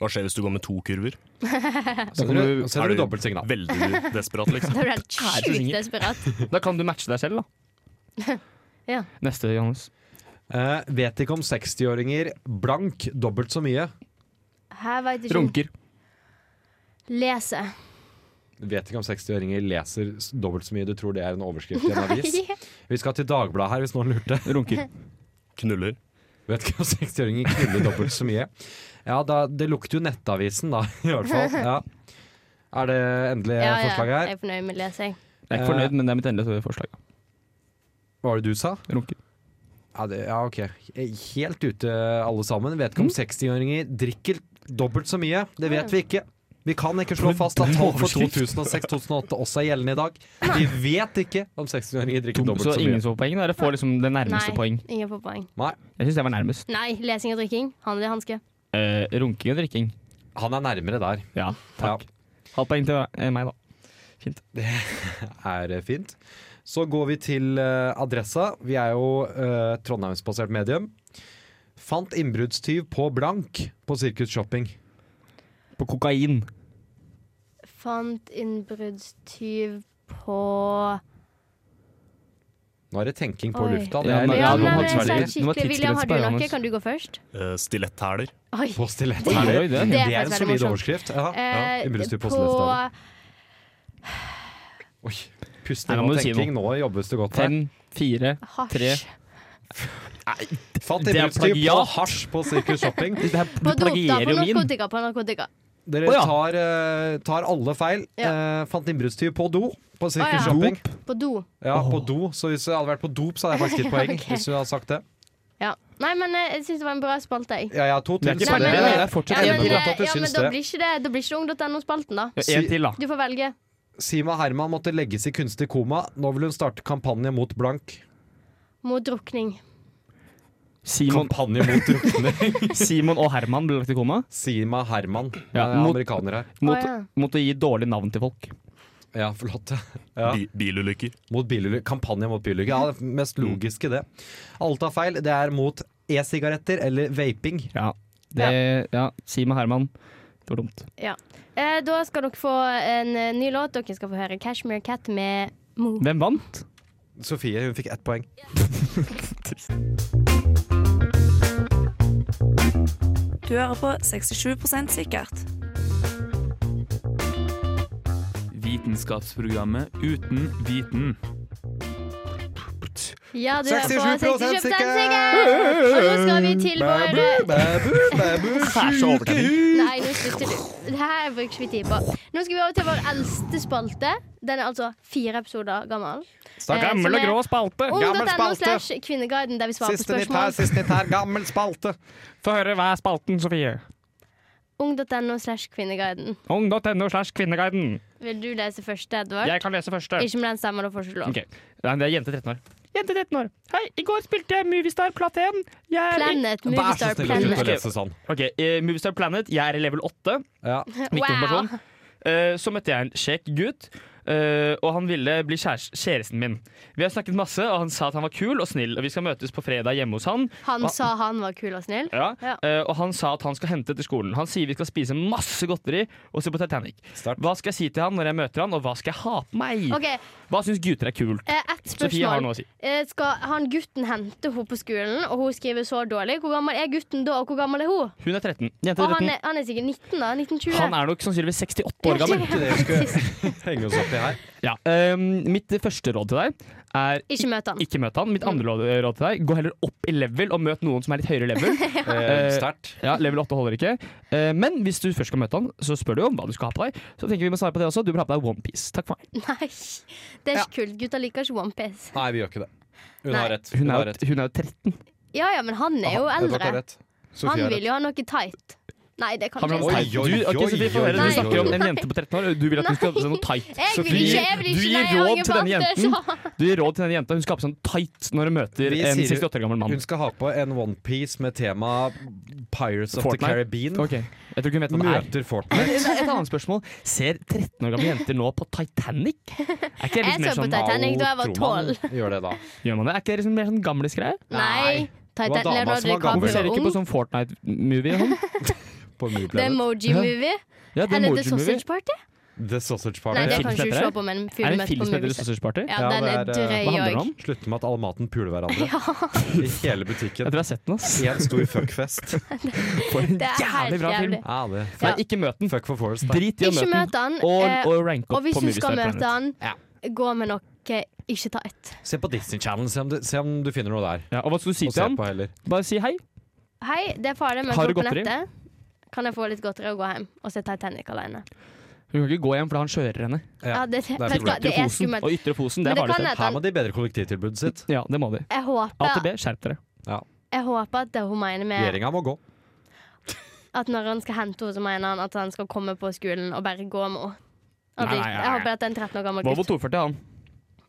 Speaker 6: hva skjer hvis du går med to kurver?
Speaker 4: Så
Speaker 2: kan
Speaker 4: er
Speaker 2: du-
Speaker 4: det- så er det dobbeltsignal.
Speaker 6: veldig desperat, liksom?
Speaker 3: Da er du helt
Speaker 2: Er du
Speaker 3: sjukt
Speaker 2: singel?
Speaker 3: desperat.
Speaker 2: Da kan du matche deg selv, da.
Speaker 3: Ja.
Speaker 2: Neste, Johannes.
Speaker 4: Eh, vet ikke om 60-åringer blank dobbelt så mye.
Speaker 3: Her veit ikke om
Speaker 2: Runker.
Speaker 3: Lese.
Speaker 4: Vet ikke om 60-åringer leser s- dobbelt så mye. Du tror det er en overskrift i en avis? Vi skal til Dagbladet her, hvis noen lurte.
Speaker 2: Runker.
Speaker 6: Knuller.
Speaker 4: Vet ikke om 60-åringer knuller dobbelt så mye. Ja, da, det lukter jo Nettavisen, da, i hvert fall. Ja. Er det endelig
Speaker 3: Ja, ja.
Speaker 4: forslag
Speaker 3: Jeg
Speaker 4: her?
Speaker 3: er fornøyd med lesing.
Speaker 2: Jeg er ikke fornøyd, men det er mitt endelige forslag.
Speaker 4: Hva var det du sa?
Speaker 2: Runker.
Speaker 4: Ja, det, ja, OK. Helt ute, alle sammen. Vet ikke om 60-åringer drikker dobbelt så mye. Det vet vi ikke. Vi kan ikke slå fast at tall for 2006-2008 også er gjeldende i dag. Vi vet ikke om 60-åringer drikker dobbelt
Speaker 2: Så
Speaker 4: så
Speaker 2: ingen
Speaker 4: mye.
Speaker 2: som får poeng? da? Dere får liksom det nærmeste
Speaker 3: Nei,
Speaker 2: poeng.
Speaker 3: ingen får poeng.
Speaker 4: Nei,
Speaker 2: Jeg syns jeg var nærmest.
Speaker 3: Nei, lesing og drikking. Handel i hanske.
Speaker 2: Eh, runking og drikking.
Speaker 4: han er nærmere der.
Speaker 2: Ja,
Speaker 4: Ja.
Speaker 2: takk. Halvt poeng til eh, meg, da.
Speaker 4: er eh, fint. Så går vi til eh, adressa. Vi er jo eh, trondheimsbasert medium. Fant innbruddstyv på blank på Sirkus Shopping.
Speaker 2: På kokain.
Speaker 3: Fant innbruddstyv på
Speaker 4: Nå er det tenking på
Speaker 3: Oi.
Speaker 4: lufta. Det
Speaker 2: Ja,
Speaker 4: er
Speaker 2: men-
Speaker 4: litt
Speaker 3: Ja,
Speaker 2: nå
Speaker 3: men
Speaker 2: må faktisk
Speaker 3: jeg sa
Speaker 2: være- nå må
Speaker 3: det skikkelig. William,
Speaker 2: tidsgrense
Speaker 3: har du
Speaker 2: på
Speaker 3: noe?
Speaker 2: Johannes.
Speaker 3: Kan du gå først?
Speaker 6: Uh, Stiletthæler.
Speaker 3: Oi.
Speaker 4: på
Speaker 2: Oi,
Speaker 4: stilett. Det
Speaker 2: oi, det er
Speaker 3: Det
Speaker 2: fint.
Speaker 3: er
Speaker 4: er en
Speaker 3: faktisk veldig
Speaker 4: solid
Speaker 3: morsomt.
Speaker 4: overskrift. Ja.
Speaker 3: Eh,
Speaker 4: innbruddstyv
Speaker 3: på
Speaker 4: på Stiletthaler. Oi,
Speaker 2: Nei,
Speaker 4: Pusting
Speaker 2: nå må
Speaker 4: og
Speaker 2: du si
Speaker 4: tenking. Nå jobbes det godt her.
Speaker 2: Fem, fire Tre.
Speaker 3: hasj.
Speaker 4: Fant
Speaker 2: Det er
Speaker 4: innbruddstyv på
Speaker 2: plagiat.
Speaker 4: hasj på Sirkus Shopping.
Speaker 2: Det her,
Speaker 3: På
Speaker 2: du
Speaker 3: dop, da.
Speaker 2: plagierer
Speaker 3: På
Speaker 2: jo min.
Speaker 3: narkotika. På narkotika.
Speaker 4: Dere
Speaker 2: Å, ja.
Speaker 4: tar, eh, tar alle feil.
Speaker 3: Ja.
Speaker 4: Eh, fant innbruddstyv på do på
Speaker 3: Å,
Speaker 4: Sirkus
Speaker 3: ja.
Speaker 4: Shopping.
Speaker 3: På do.
Speaker 4: Ja, på do. Så hvis jeg hadde vært på dop, så hadde jeg faktisk gitt poeng.
Speaker 3: Ok.
Speaker 4: Hvis du hadde sagt det.
Speaker 3: Ja. Nei, men eh, jeg syns det var en bra spalte, jeg.
Speaker 4: Ja, jeg har to til.
Speaker 2: Det er ikke
Speaker 3: Nei,
Speaker 4: så
Speaker 2: ferdig.
Speaker 3: men-
Speaker 2: Det er fortsatt
Speaker 3: Ja,
Speaker 4: Jeg
Speaker 2: en
Speaker 3: men,
Speaker 4: er enig
Speaker 2: til.
Speaker 4: i at
Speaker 3: eh,
Speaker 4: du
Speaker 3: ja, men
Speaker 4: syns
Speaker 3: da
Speaker 4: det.
Speaker 3: blir ikke det, da blir ikke det ung.no-spalten, da.
Speaker 2: Ja, En til, da.
Speaker 3: Du får velge.
Speaker 4: Sima Herman måtte legges i kunstig koma. Nå vil hun starte kampanje mot blank.
Speaker 3: Mot drukning.
Speaker 2: Simon,
Speaker 4: Kampanje mot drukne.
Speaker 2: Simon og Herman ble lagt i koma.
Speaker 4: Sima Herman.
Speaker 2: Ja,
Speaker 4: Ja,
Speaker 2: mot-
Speaker 4: Amerikaner her.
Speaker 2: Mot,
Speaker 3: Å, ja.
Speaker 2: mot å gi dårlig navn til folk.
Speaker 4: Ja, forlåt. Ja.
Speaker 6: Bi bilulykker.
Speaker 4: Mot bilulykker. Kampanje mot bilulykker. Ja, det mest logiske, det. Alle tar feil. Det er mot e-sigaretter eller vaping.
Speaker 2: Ja. Det, ja. Simon og Herman. Det var dumt.
Speaker 3: Eh, da skal dere få en eh, ny låt. Dere skal få høre 'Cashmere Cat' med Mo.
Speaker 2: Hvem vant?
Speaker 4: Sofie hun fikk ett poeng.
Speaker 7: Du hører på 67 sikkert.
Speaker 2: Vitenskapsprogrammet Uten viten.
Speaker 3: Ja, du hører på
Speaker 4: 67%
Speaker 3: 67
Speaker 4: sikker!
Speaker 3: sikker! Og nå skal vi til vår Nei, nå slutter du. Det her bruker ikke vi tid på. Nå skal vi over til vår eldste spalte. Den er altså fire episoder gammel. Eh, som er
Speaker 2: spalte.
Speaker 4: Gammel
Speaker 3: Ung.no
Speaker 4: spalte.
Speaker 3: slash Kvinneguiden, der vi svarer på
Speaker 4: Siste nytt her,
Speaker 3: spørsmål.
Speaker 4: siste nytt her. Gammel spalte.
Speaker 2: Få høre hva er spalten, Sofie.
Speaker 3: Ung.no slash Kvinneguiden.
Speaker 2: Ung.no slash Kvinneguiden.
Speaker 3: Vil du lese først, Edvard?
Speaker 2: Jeg kan lese første.
Speaker 3: Ikke med den stemmen, da får du ikke lov.
Speaker 2: Ok. Nei, det er jente 13 år. Jente 13 år. Hei, i går spilte jeg Movistar Platen. Jeg er
Speaker 3: Planet,
Speaker 4: Vær så
Speaker 3: Movistar
Speaker 4: snill å slutte å
Speaker 3: Planet.
Speaker 4: lese sånn.
Speaker 2: Ok, eh, Movistar Planet. Jeg er i level 8.
Speaker 4: Ja.
Speaker 2: Viktig
Speaker 3: Wow.
Speaker 2: informasjon. Eh, så møtte jeg en kjekk gutt, eh, og han ville bli kjæres- kjæresten min. Vi har snakket masse, og han sa at han var kul og snill, og vi skal møtes på fredag hjemme hos han.
Speaker 3: Han sa han var kul og snill.
Speaker 2: Ja.
Speaker 3: Ja.
Speaker 2: Eh, og han sa at han skal hente til skolen. Han sier vi skal spise masse godteri og se på Titanic.
Speaker 4: Sterkt.
Speaker 2: Hva skal jeg si til han når jeg møter han, og hva skal jeg ha på meg?
Speaker 3: OK, eh,
Speaker 2: Hva syns gutter er kult?
Speaker 3: ett
Speaker 2: Sofie har
Speaker 3: spørsmål.
Speaker 2: noe å si.
Speaker 3: Eh, Skal han gutten hente henne på skolen, og hun skriver så dårlig? Hvor gammel er gutten da, og hvor gammel er hun?
Speaker 2: Hun er 13. Jente
Speaker 3: Og han
Speaker 2: 13.
Speaker 3: er, han er sikkert 19, da? 1920?
Speaker 2: Han er nok sannsynligvis 68 år gammel.
Speaker 4: Ikke det vi skulle henge oss opp i her.
Speaker 2: Ja. eh, mitt første råd til deg er
Speaker 3: Ikke møt han.
Speaker 2: ikke møt han.
Speaker 3: Mm.
Speaker 2: Mitt andre råd råd til deg, gå heller opp i level og møt noen som er litt høyere level.
Speaker 4: Eh, Sterkt.
Speaker 2: Ja, Level 8 holder ikke. Eh, Men hvis du først skal møte han, så spør du om hva du skal ha på deg. Så tenker vi må svare på det også. Du bør ha på deg OnePiece. Takk for meg.
Speaker 3: Nei, det er ikke kult. Gutter liker ikke OnePiece.
Speaker 4: Nei, vi gjør ikke det. Hun
Speaker 3: Nei.
Speaker 4: har rett.
Speaker 2: Hun
Speaker 4: har
Speaker 2: er
Speaker 4: rett.
Speaker 2: jo, hun er jo 13.
Speaker 3: Ja ja, men han er jo
Speaker 4: Aha, Edvard har
Speaker 3: eldre.
Speaker 4: rett.
Speaker 3: Han
Speaker 4: Sofie har
Speaker 3: vil
Speaker 4: rett.
Speaker 3: jo ha noe tight. Nei, det kan
Speaker 2: Han vil
Speaker 3: ikke
Speaker 2: ha noe
Speaker 4: Oi,
Speaker 3: jeg si.
Speaker 2: tight.
Speaker 4: oi,
Speaker 2: Du, ok,
Speaker 4: oi,
Speaker 2: Sofie, få
Speaker 4: oi,
Speaker 2: høre. Du
Speaker 3: oi,
Speaker 2: snakker om
Speaker 3: oi.
Speaker 2: en jente på 13 år, og du vil at hun skal ha på seg noe tight.
Speaker 3: Jeg vil
Speaker 2: Du
Speaker 3: ikke,
Speaker 2: gir-
Speaker 3: jeg vil
Speaker 2: du
Speaker 3: ikke,
Speaker 2: gir
Speaker 3: nei, jeg
Speaker 2: råd
Speaker 3: angrer
Speaker 2: til
Speaker 3: på
Speaker 2: denne
Speaker 3: alt jeg sa.
Speaker 2: Du gir råd til denne jenta. Hun skal ha på seg noe tight når hun møter
Speaker 4: Vi
Speaker 2: en
Speaker 4: sier-
Speaker 2: 68 år gammel mann.
Speaker 4: Hun skal ha på en onepiece med tema Pirates of the
Speaker 2: Fortnite.
Speaker 4: Caribbean.
Speaker 2: Ok, Jeg tror ikke hun vet hva det er.
Speaker 4: Møter Fortnite.
Speaker 2: Men et et annet spørsmål. Ser 13 år gamle jenter nå på Titanic? Er ikke det litt
Speaker 3: Jeg
Speaker 2: mer
Speaker 3: så på
Speaker 2: sånn
Speaker 3: Titanic da jeg var
Speaker 4: Tror man
Speaker 3: 12.
Speaker 4: Gjør det, da.
Speaker 2: Gjør man det? Er ikke det liksom mer sånn gamlesgreie?
Speaker 3: Nei.
Speaker 4: Det var
Speaker 3: Titanic
Speaker 4: dama som
Speaker 3: Leonardo
Speaker 4: var gammel.
Speaker 2: Hvorfor ser
Speaker 3: DiCaprio
Speaker 2: dere ikke på
Speaker 3: ung.
Speaker 2: sånn Fortnite-movie? og sånn?
Speaker 4: På Movie
Speaker 3: The
Speaker 4: Planet.
Speaker 3: Emoji
Speaker 2: Ja.
Speaker 3: Movie.
Speaker 2: Ja, det er
Speaker 3: Eller The
Speaker 2: Emoji Movie.
Speaker 3: Sausage Party.
Speaker 4: The Sausage
Speaker 3: Nei,
Speaker 4: Party.
Speaker 3: det
Speaker 2: en
Speaker 3: kan
Speaker 2: film som
Speaker 3: ikke du
Speaker 2: heter
Speaker 3: se på med en
Speaker 2: Er
Speaker 3: fyr
Speaker 2: det en
Speaker 3: møtt
Speaker 2: film
Speaker 3: på
Speaker 2: som heter
Speaker 3: movie.
Speaker 2: The Sausage Party?
Speaker 3: Ja,
Speaker 4: Ja,
Speaker 3: den er
Speaker 4: det er, eh,
Speaker 3: drøy
Speaker 2: Hva handler den
Speaker 3: òg.
Speaker 2: om?
Speaker 4: Slutter med at alle maten puler hverandre i hele
Speaker 2: Jeg
Speaker 4: butikken.
Speaker 2: tror jeg har sett den, ass.
Speaker 4: Én stor fuckfest.
Speaker 2: For en
Speaker 3: Det er
Speaker 2: jævlig
Speaker 3: helt
Speaker 2: bra film.
Speaker 3: jævlig.
Speaker 4: Ja, det.
Speaker 2: Nei, ikke møt den.
Speaker 4: Fuck for Forest. da.
Speaker 2: Drit i å
Speaker 3: Ikke
Speaker 2: møte den.
Speaker 3: møt han.
Speaker 2: Og,
Speaker 3: eh,
Speaker 2: og rank
Speaker 3: Og
Speaker 2: opp
Speaker 3: hvis
Speaker 2: på
Speaker 3: du skal
Speaker 2: Movistar
Speaker 3: møte
Speaker 2: Planet.
Speaker 3: han, gå med noe eh, ikke tight.
Speaker 4: Se på Disney Channel, se om du, se om du finner noe der.
Speaker 2: Ja, og hva skal du si
Speaker 4: Og
Speaker 2: til
Speaker 4: se
Speaker 2: han?
Speaker 4: på heller.
Speaker 2: Bare si hei.
Speaker 3: Hei, det er farlig, men
Speaker 2: Har du
Speaker 3: gå på
Speaker 2: godteri?
Speaker 3: nettet. Kan jeg få litt godteri og gå hjem og se Titanic alene?
Speaker 2: Hun kan ikke gå hjem fordi han kjører henne.
Speaker 4: Ja,
Speaker 3: Ja, det, vet
Speaker 4: er
Speaker 3: du hva,
Speaker 4: problemet.
Speaker 3: det
Speaker 2: Ytre
Speaker 3: er
Speaker 2: posen
Speaker 3: skummelt.
Speaker 2: og ytre posen, det
Speaker 3: Men
Speaker 2: er
Speaker 3: det kan
Speaker 2: farlig.
Speaker 3: hende
Speaker 4: Her
Speaker 3: at
Speaker 4: må de bedre kollektivtilbudet sitt.
Speaker 2: Ja, det må de.
Speaker 3: Jeg
Speaker 2: A til
Speaker 3: håper,
Speaker 2: B, skjerp dere.
Speaker 3: jeg håper at det hun mener med
Speaker 4: Regjeringa må gå.
Speaker 3: at når han skal hente henne, så mener han at han skal komme på skolen og bare gå med henne. At
Speaker 2: Nei,
Speaker 3: det-
Speaker 2: nei, nei,
Speaker 3: Jeg
Speaker 2: nei.
Speaker 3: håper at det er en 13 år gammel
Speaker 2: Volvo
Speaker 3: gutt.
Speaker 2: 240, han.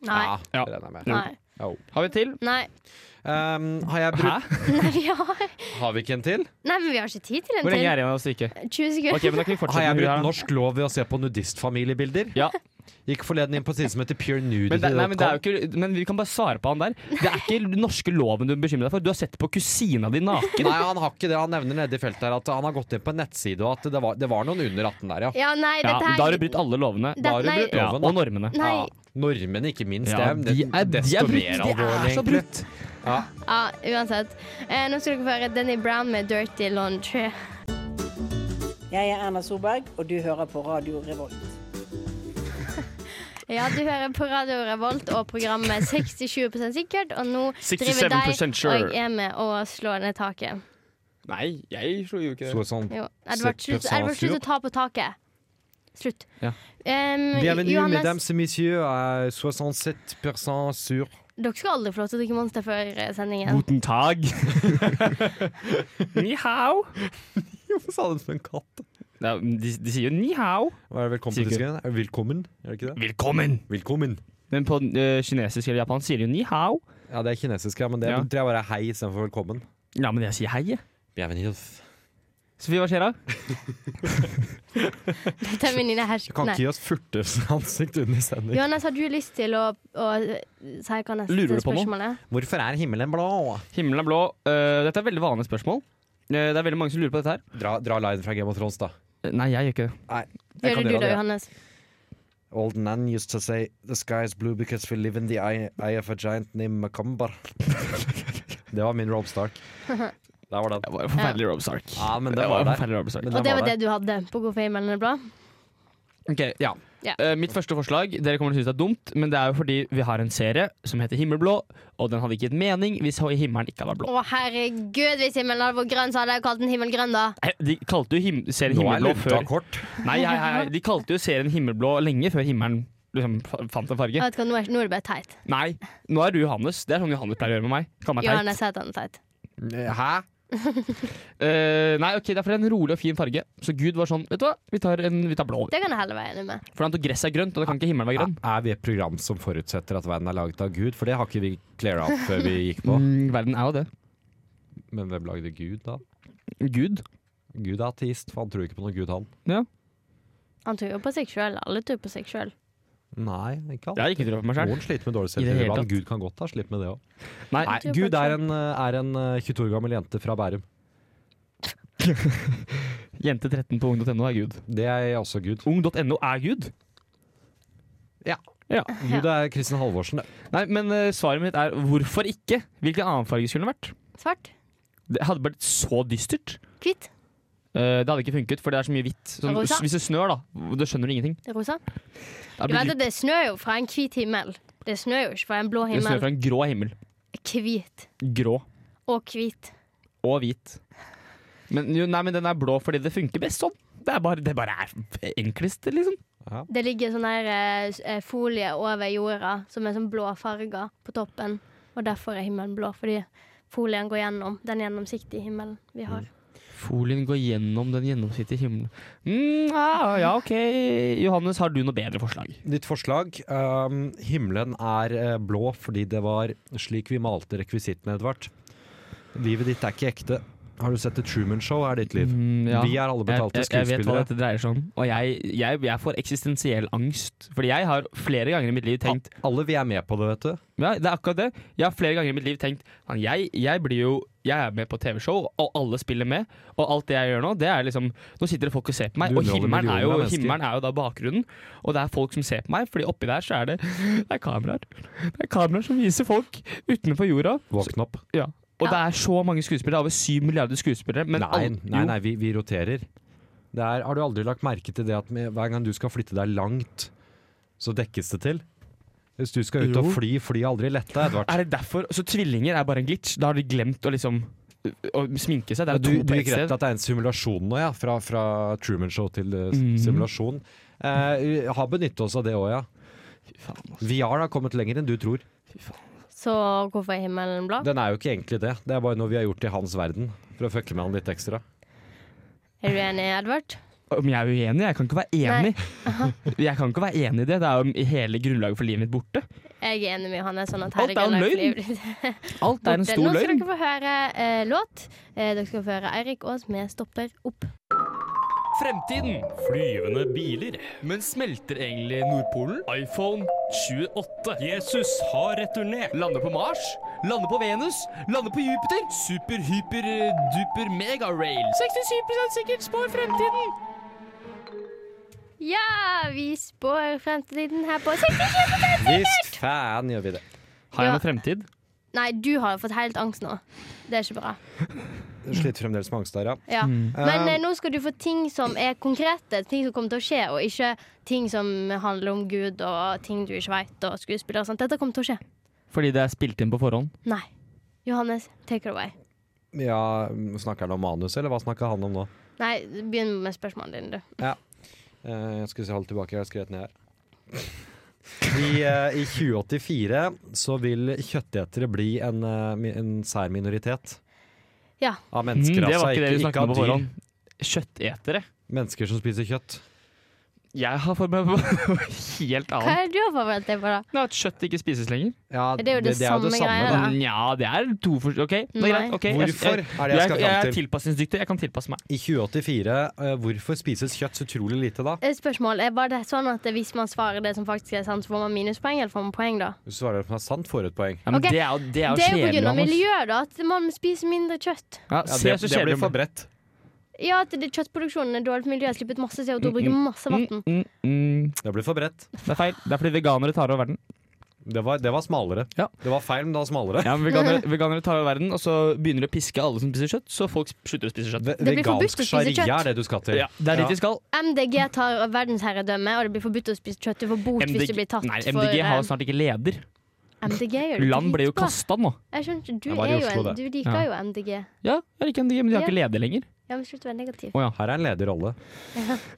Speaker 3: Nei.
Speaker 4: Ja,
Speaker 2: Ja.
Speaker 4: det regner jeg med.
Speaker 3: Nei.
Speaker 4: Jo.
Speaker 2: Har vi til?
Speaker 3: Nei.
Speaker 4: Um, har, jeg
Speaker 2: Hæ?
Speaker 4: brukt,
Speaker 3: Nei, vi har,
Speaker 4: har vi ikke en til?
Speaker 3: nei, men vi har ikke tid til en
Speaker 2: Hvor lenge er
Speaker 3: til.
Speaker 2: det igjen av stykket?
Speaker 3: 20
Speaker 2: Ok,
Speaker 3: sekunder.
Speaker 2: men da kan vi
Speaker 4: Har
Speaker 2: fortsette
Speaker 4: jeg
Speaker 2: med det
Speaker 4: brukt
Speaker 2: her. da.
Speaker 4: norsk lov ved å se på nudistfamiliebilder?
Speaker 2: Ja.
Speaker 4: Gikk forleden inn på siden som heter
Speaker 2: Men, det, nei, men, det er jo
Speaker 4: purenudity.com.
Speaker 2: ikke, men vi kan bare svare på han der. Det er ikke den norske loven du bekymrer deg for. Du har sett på kusina di naken.
Speaker 4: Nei, han har ikke det. Han nevner nede i feltet her at han har gått inn på en nettside, og at det var, det var noen under 18 der, ja.
Speaker 3: Ja, nei,
Speaker 2: Ja,
Speaker 3: dette
Speaker 2: da har
Speaker 3: her
Speaker 2: du brutt alle lovene.
Speaker 3: Det-
Speaker 4: Da har du
Speaker 3: nei.
Speaker 4: brutt
Speaker 2: Ja,
Speaker 4: loven,
Speaker 2: og
Speaker 4: da.
Speaker 2: normene.
Speaker 3: Nei.
Speaker 4: Normene, ikke minst.
Speaker 2: Ja,
Speaker 4: det er,
Speaker 2: de er- de er
Speaker 4: desto
Speaker 2: brutt. De er
Speaker 4: mer alvorlig.
Speaker 2: så
Speaker 4: egentlig.
Speaker 2: brutt.
Speaker 4: Ja.
Speaker 3: Ja, uansett. Eh, nå skal dere få høre Denny Brown med 'Dirty Laundry'.
Speaker 8: Jeg er Erna Solberg, og du hører på Radio Revolt.
Speaker 3: Ja, du hører på Radio Revolt og programmet 67 sikkert, og nå driver
Speaker 2: 67%
Speaker 3: deg
Speaker 2: sure.
Speaker 3: og jeg er med å slå ned taket.
Speaker 2: Nei, jeg slo jo ikke
Speaker 4: Så sånn.
Speaker 3: Jo, Edvard, slutt,
Speaker 4: 6%
Speaker 3: Edvard, slutt å ta på taket. Slutt.
Speaker 2: Ja.
Speaker 3: Em,
Speaker 4: Mm. Bienvenue,
Speaker 3: Johannes,
Speaker 4: mesdames et messieurs, à 67% sur.
Speaker 3: dere skal aldri få lov til å drikke Monster før eh, sendingen.
Speaker 2: Guten tag. ni hao.
Speaker 4: Hvorfor sa du det som en katt?
Speaker 2: Ja, de, de sier jo ni hao.
Speaker 4: Hva er det velkommen til
Speaker 2: Sikkert.
Speaker 4: disken? Er det Velkommen, er det ikke det?
Speaker 2: Velkommen!
Speaker 4: Velkommen.
Speaker 2: Men på eh, kinesisk eller japansk sier de jo ni hao.
Speaker 4: Ja, det er kinesisk, ja, men det
Speaker 2: Ja.
Speaker 4: tror jeg bare er hei istedenfor velkommen.
Speaker 2: Ja, men jeg sier hei. jeg.
Speaker 4: Bienvenue.
Speaker 2: Sofie, hva skjer da?
Speaker 3: Dette er min lille hash-
Speaker 4: Du kan
Speaker 3: Nei.
Speaker 4: ikke gi oss furteansikt under sending.
Speaker 3: Johannes, har du lyst til å, å si hva
Speaker 2: Lurer du på
Speaker 3: neste
Speaker 2: noe?
Speaker 3: spørsmål er?
Speaker 4: Hvorfor er himmelen blå?
Speaker 2: Himmelen er blå. Eh, dette er veldig vanlige spørsmål. Eh, det er veldig mange som lurer på dette her.
Speaker 4: Dra, dra line fra Game of Thrones, da.
Speaker 2: Eh, Nei, jeg gjør ikke det.
Speaker 4: Nei, jeg
Speaker 3: Gjør
Speaker 4: kan
Speaker 3: det du
Speaker 4: gjøre
Speaker 3: da,
Speaker 4: det.
Speaker 3: Johannes?
Speaker 4: Old Nan used to say the sky is blue because we live in the eye, eye of a giant named Macumber. det var min Rob Stark. Der var den.
Speaker 2: Det var en forferdelig Rob Stark.
Speaker 4: Ja, men
Speaker 2: Ah, Det
Speaker 4: det
Speaker 2: var
Speaker 4: var
Speaker 2: en
Speaker 4: der.
Speaker 2: forferdelig Rob Stark.
Speaker 4: Men
Speaker 3: Og det var
Speaker 4: der.
Speaker 3: det du hadde på Hvorfor er himmelen blå?
Speaker 2: Ok, ja.
Speaker 3: Ja.
Speaker 2: Eh, mitt første forslag Dere kommer til å synes det er dumt, men det er jo fordi vi har en serie som heter Himmelblå, og den hadde ikke gitt mening hvis himmelen ikke hadde vært blå.
Speaker 3: Å, herregud, hvis himmelen hadde vært grønn, så hadde jeg kalt den himmelgrønn, da.
Speaker 2: Nei, Eh, De kalte jo him serien
Speaker 4: Nå er
Speaker 2: Himmelblå
Speaker 4: lunta
Speaker 2: før
Speaker 4: kort.
Speaker 2: Nei, hei, hei, De kalte jo serien Himmelblå lenge før himmelen liksom fa- fant en
Speaker 3: Jeg
Speaker 2: farge.
Speaker 3: vet ikke, nå er, nå er det bare teit.
Speaker 2: Nei, nå er du Johannes. Det er sånn Johannes pleier å gjøre med meg. Kall meg teit.
Speaker 3: Johannes heter han teit.
Speaker 4: Hæ?
Speaker 2: Eh, nei, ok, det er for en rolig og fin farge. Så Gud var sånn, vet du hva, vi tar, en, vi tar blå.
Speaker 3: Det kan jeg heller være enig med.
Speaker 2: For han tok gresset er grønt, og da kan ikke himmelen være grønn.
Speaker 4: Er vi et program som forutsetter at verden er laget av Gud? For det har ikke vi cleara opp før vi gikk på.
Speaker 2: Mm, verden er jo det.
Speaker 4: Men hvem lagde Gud, da?
Speaker 2: Gud.
Speaker 4: Gud er ateist, for han tror ikke på noe Gud, han.
Speaker 3: Han tror jo på seg sjøl. Alle tror på seg sjøl.
Speaker 4: Nei, ikke
Speaker 2: Det har jeg ikke trodd på meg sjøl.
Speaker 4: Noen sliter med dårlig
Speaker 2: I det hele
Speaker 4: selvtillit. men
Speaker 2: tatt.
Speaker 4: Gud kan godt ha slitt med det òg.
Speaker 2: Nei.
Speaker 4: Nei,
Speaker 3: tror
Speaker 4: Gud
Speaker 3: på
Speaker 4: er en, eh, er en eh, 22 år gammel jente fra Bærum.
Speaker 2: Jente 13 på ung.no er Gud.
Speaker 4: Det er også Gud.
Speaker 2: Ung.no er Gud.
Speaker 4: Gud er Kristin Halvorsen. det.
Speaker 2: Nei, men eh, svaret mitt er hvorfor ikke? Hvilken annen farge skulle det vært?
Speaker 3: Svart?
Speaker 2: Det hadde blitt så dystert.
Speaker 3: Hvitt?
Speaker 2: Eh, det hadde ikke funket, for det er så mye hvitt. Sånn,
Speaker 3: Rosa?
Speaker 2: hvis det snør, da, da skjønner du ingenting.
Speaker 3: Rosa?
Speaker 2: Da
Speaker 3: Du
Speaker 2: blir
Speaker 3: vet
Speaker 2: det,
Speaker 3: at det snør jo fra en hvit himmel. Det snør jo ikke fra en blå
Speaker 2: det snør
Speaker 3: himmel.
Speaker 2: fra en grå himmel.
Speaker 3: Hvit.
Speaker 2: Grå
Speaker 3: Og hvit.
Speaker 2: og hvit. Men, jo, nei, men den er blå fordi det funker best sånn. Det er bare, det bare er enklest, liksom.
Speaker 3: Det ligger sånn her eh, s- eh, folie over jorda som er sånn blå farger på toppen. Og derfor er himmelen blå, fordi folien går gjennom den gjennomsiktige himmelen vi har.
Speaker 2: Mm. Folien går gjennom den gjennomsnittlige himmelen. Mm, ah, ja, OK. Johannes, har du noe bedre forslag?
Speaker 4: Ditt forslag. ehm, himmelen er eh, blå fordi det var slik vi malte rekvisittene, Edvard. Livet ditt er ikke ekte. Har du sett The Truman Show? er ditt liv.
Speaker 2: Mm, ja.
Speaker 4: Vi er alle betalte
Speaker 2: jeg, jeg, jeg vet hva
Speaker 4: skuespillere.
Speaker 2: dette dreier seg om, og jeg, jeg, jeg får eksistensiell angst. Fordi jeg har flere ganger i mitt liv tenkt
Speaker 4: Alle vi er med på det, vet du.
Speaker 2: ja, Det er akkurat det. Jeg har flere ganger i mitt liv tenkt "Man, jeg, jeg blir jo Jeg er med på TV-show, og alle spiller med. Og alt det jeg gjør nå, det er liksom Nå sitter det folk og ser på meg,
Speaker 4: Du
Speaker 2: og
Speaker 4: underholder
Speaker 2: himmelen er, jo,
Speaker 4: millioner av mennesker.
Speaker 2: himmelen er jo da bakgrunnen. Og det er folk som ser på meg, Fordi oppi der så er det Det er kameraer. Det er kameraer som viser folk utenfor jorda.
Speaker 4: Våkn opp.
Speaker 2: Ja. Og
Speaker 3: Ja.
Speaker 2: det er så mange skuespillere. Over syv milliarder skuespillere. Men
Speaker 4: Nei,
Speaker 2: alle-
Speaker 4: nei,
Speaker 2: jo.
Speaker 4: nei vi, vi roterer. Det er, har du aldri lagt merke til det at med, hver gang du skal flytte deg langt, så dekkes det til? Hvis du skal ut
Speaker 2: Jo.
Speaker 4: og fly, fly aldri letta, Edvard.
Speaker 2: Er det derfor? Så tvillinger er bare en glitch? Da har de glemt å liksom å sminke seg? Det er
Speaker 4: Du,
Speaker 2: to
Speaker 4: du
Speaker 2: på ett
Speaker 4: gikk
Speaker 2: sted.
Speaker 4: rett til at det er en simulasjon nå, ja. Fra, fra Truman Show til eh, s-
Speaker 2: Mhm.
Speaker 4: simulasjon. Eh, vi har benyttet oss av det òg, ja.
Speaker 2: Fy faen, altså. ass.
Speaker 4: VR har kommet lenger enn du tror.
Speaker 2: Fy faen.
Speaker 3: Så hvorfor er himmelen blå?
Speaker 4: Den er jo ikke egentlig det. Det er bare noe vi har gjort i hans verden. For å fucke med han litt ekstra.
Speaker 3: Er du enig, Edvard?
Speaker 2: Om jeg er uenig? Jeg kan ikke være enig. jeg kan ikke være enig i det. Det er jo hele grunnlaget for livet mitt borte.
Speaker 3: Jeg er enig med Johannes. Sånn at
Speaker 2: Alt er jo
Speaker 3: herregud,
Speaker 2: løgn.
Speaker 3: livet ditt er
Speaker 2: Alt er en stor
Speaker 3: borte. Nå skal
Speaker 2: løgn.
Speaker 3: dere få høre eh, låt. Eh, dere skal få høre Eirik Aas med 'Stopper opp'.
Speaker 2: Fremtiden.
Speaker 9: Flyvende biler.
Speaker 2: Men smelter egentlig Nordpolen?
Speaker 9: iPhone 28. Jesus har returnert.
Speaker 2: Lander på Mars? Lander på Venus? Lander på Jupiter? Super-hyper-duper-mega-rail. 67 sikkert spår fremtiden.
Speaker 3: Ja, vi spår fremtiden her på 60
Speaker 4: Visst faen gjør vi det.
Speaker 2: Har jeg
Speaker 3: Ja.
Speaker 2: noe fremtid?
Speaker 3: Nei, du har fått helt angst nå. Det er ikke bra.
Speaker 4: Sliter fremdeles med angst der, ja.
Speaker 3: Ja.
Speaker 2: Mm.
Speaker 3: Men
Speaker 4: Um,
Speaker 3: eh, nå skal du få ting som er konkrete, ting som kommer til å skje, og ikke ting som handler om Gud og ting du ikke veit, og skuespillere og sånt. Dette kommer til å skje.
Speaker 2: Fordi det er spilt inn på forhånd.
Speaker 3: Nei. Johannes, take it away.
Speaker 4: ja. Snakker han om manus, eller hva snakker han om nå?
Speaker 3: Nei, begynn med spørsmålene dine, du.
Speaker 4: Eh, Jeg skal se holde tilbake, jeg har skrevet ned her. I, eh, I 2084 så vil kjøttetere bli en, eh, mi- en sær minoritet.
Speaker 3: Ja.
Speaker 4: Av
Speaker 2: Mm,
Speaker 4: mennesker,
Speaker 2: det
Speaker 4: altså.
Speaker 2: var ikke det vi
Speaker 4: Ikke, ikke
Speaker 2: snakket om
Speaker 4: av
Speaker 2: på
Speaker 4: dyr.
Speaker 2: forhånd. Kjøttetere.
Speaker 4: Mennesker som spiser kjøtt.
Speaker 2: Jeg har for meg noe helt
Speaker 3: Hva
Speaker 2: annet.
Speaker 3: er det du har forberedt deg på, da?
Speaker 2: Nei, At kjøtt ikke spises lenger.
Speaker 4: Ja,
Speaker 3: Det er jo det samme greia, Ja.
Speaker 4: da.
Speaker 2: Nja, det er to for... OK, det er
Speaker 3: Nei.
Speaker 2: greit. ok, jeg-
Speaker 4: Hvorfor er det
Speaker 2: Jeg,
Speaker 4: jeg
Speaker 2: jeg,
Speaker 4: skal
Speaker 2: jeg er
Speaker 4: fram til?
Speaker 2: tilpasningsdyktig. Jeg kan tilpasse meg.
Speaker 4: I 2084, eh, hvorfor spises kjøtt så utrolig lite da?
Speaker 3: Eh, Spørsmål. Er bare det sånn at hvis man svarer det som faktisk er sant, så får man minuspoeng, eller får man poeng, da?
Speaker 4: Hvis du svarer at det er sant, får du et poeng.
Speaker 2: Ja, men
Speaker 3: Ok,
Speaker 2: Det er jo, det er jo
Speaker 3: Det er jo på
Speaker 2: kjedelig,
Speaker 3: grunn av
Speaker 2: Anders.
Speaker 3: miljøet, da. At man spiser mindre kjøtt.
Speaker 2: Ja, se så kjedelig det blir.
Speaker 4: forberedt.
Speaker 3: Ja, at det- kjøttproduksjonen er dårlig for miljøet, slipper ut masse CO2, bruker
Speaker 2: Mm,
Speaker 3: masse vann.
Speaker 2: Mm, mm, mm.
Speaker 4: Det ble for bredt.
Speaker 2: Det er feil. Det er fordi veganere tar over verden.
Speaker 4: Det var, det var smalere.
Speaker 2: Ja.
Speaker 4: Det var feil, men det var smalere.
Speaker 2: Ja,
Speaker 3: Mm.
Speaker 2: men veganere, veganere tar over verden, og så begynner de å piske alle som spiser kjøtt, så folk slutter å spise kjøtt.
Speaker 4: Ve
Speaker 3: blir forbudt
Speaker 4: vegansk
Speaker 3: å spise
Speaker 4: sharia
Speaker 3: kjøtt.
Speaker 4: er det du skal til.
Speaker 2: Ja, det er dit vi skal.
Speaker 3: MDG tar verdensherredømme, og det blir forbudt å spise kjøtt. Du får bot hvis du blir tatt
Speaker 2: nei,
Speaker 3: for
Speaker 2: MDG har
Speaker 3: eh,
Speaker 2: jo snart ikke leder.
Speaker 3: MDG gjør det
Speaker 2: Land ble jo
Speaker 3: dritbra.
Speaker 2: kasta nå.
Speaker 3: Jeg skjønner ikke, du,
Speaker 4: Jeg var i
Speaker 3: er jo
Speaker 4: Oslo,
Speaker 3: en,
Speaker 4: det.
Speaker 3: du liker
Speaker 2: Ja.
Speaker 3: jo MDG.
Speaker 2: Ja, jeg liker MDG, men de har ikke leder lenger.
Speaker 3: Ja, men Slutt å være negativ.
Speaker 2: Å ja.
Speaker 4: Her er en ledig rolle.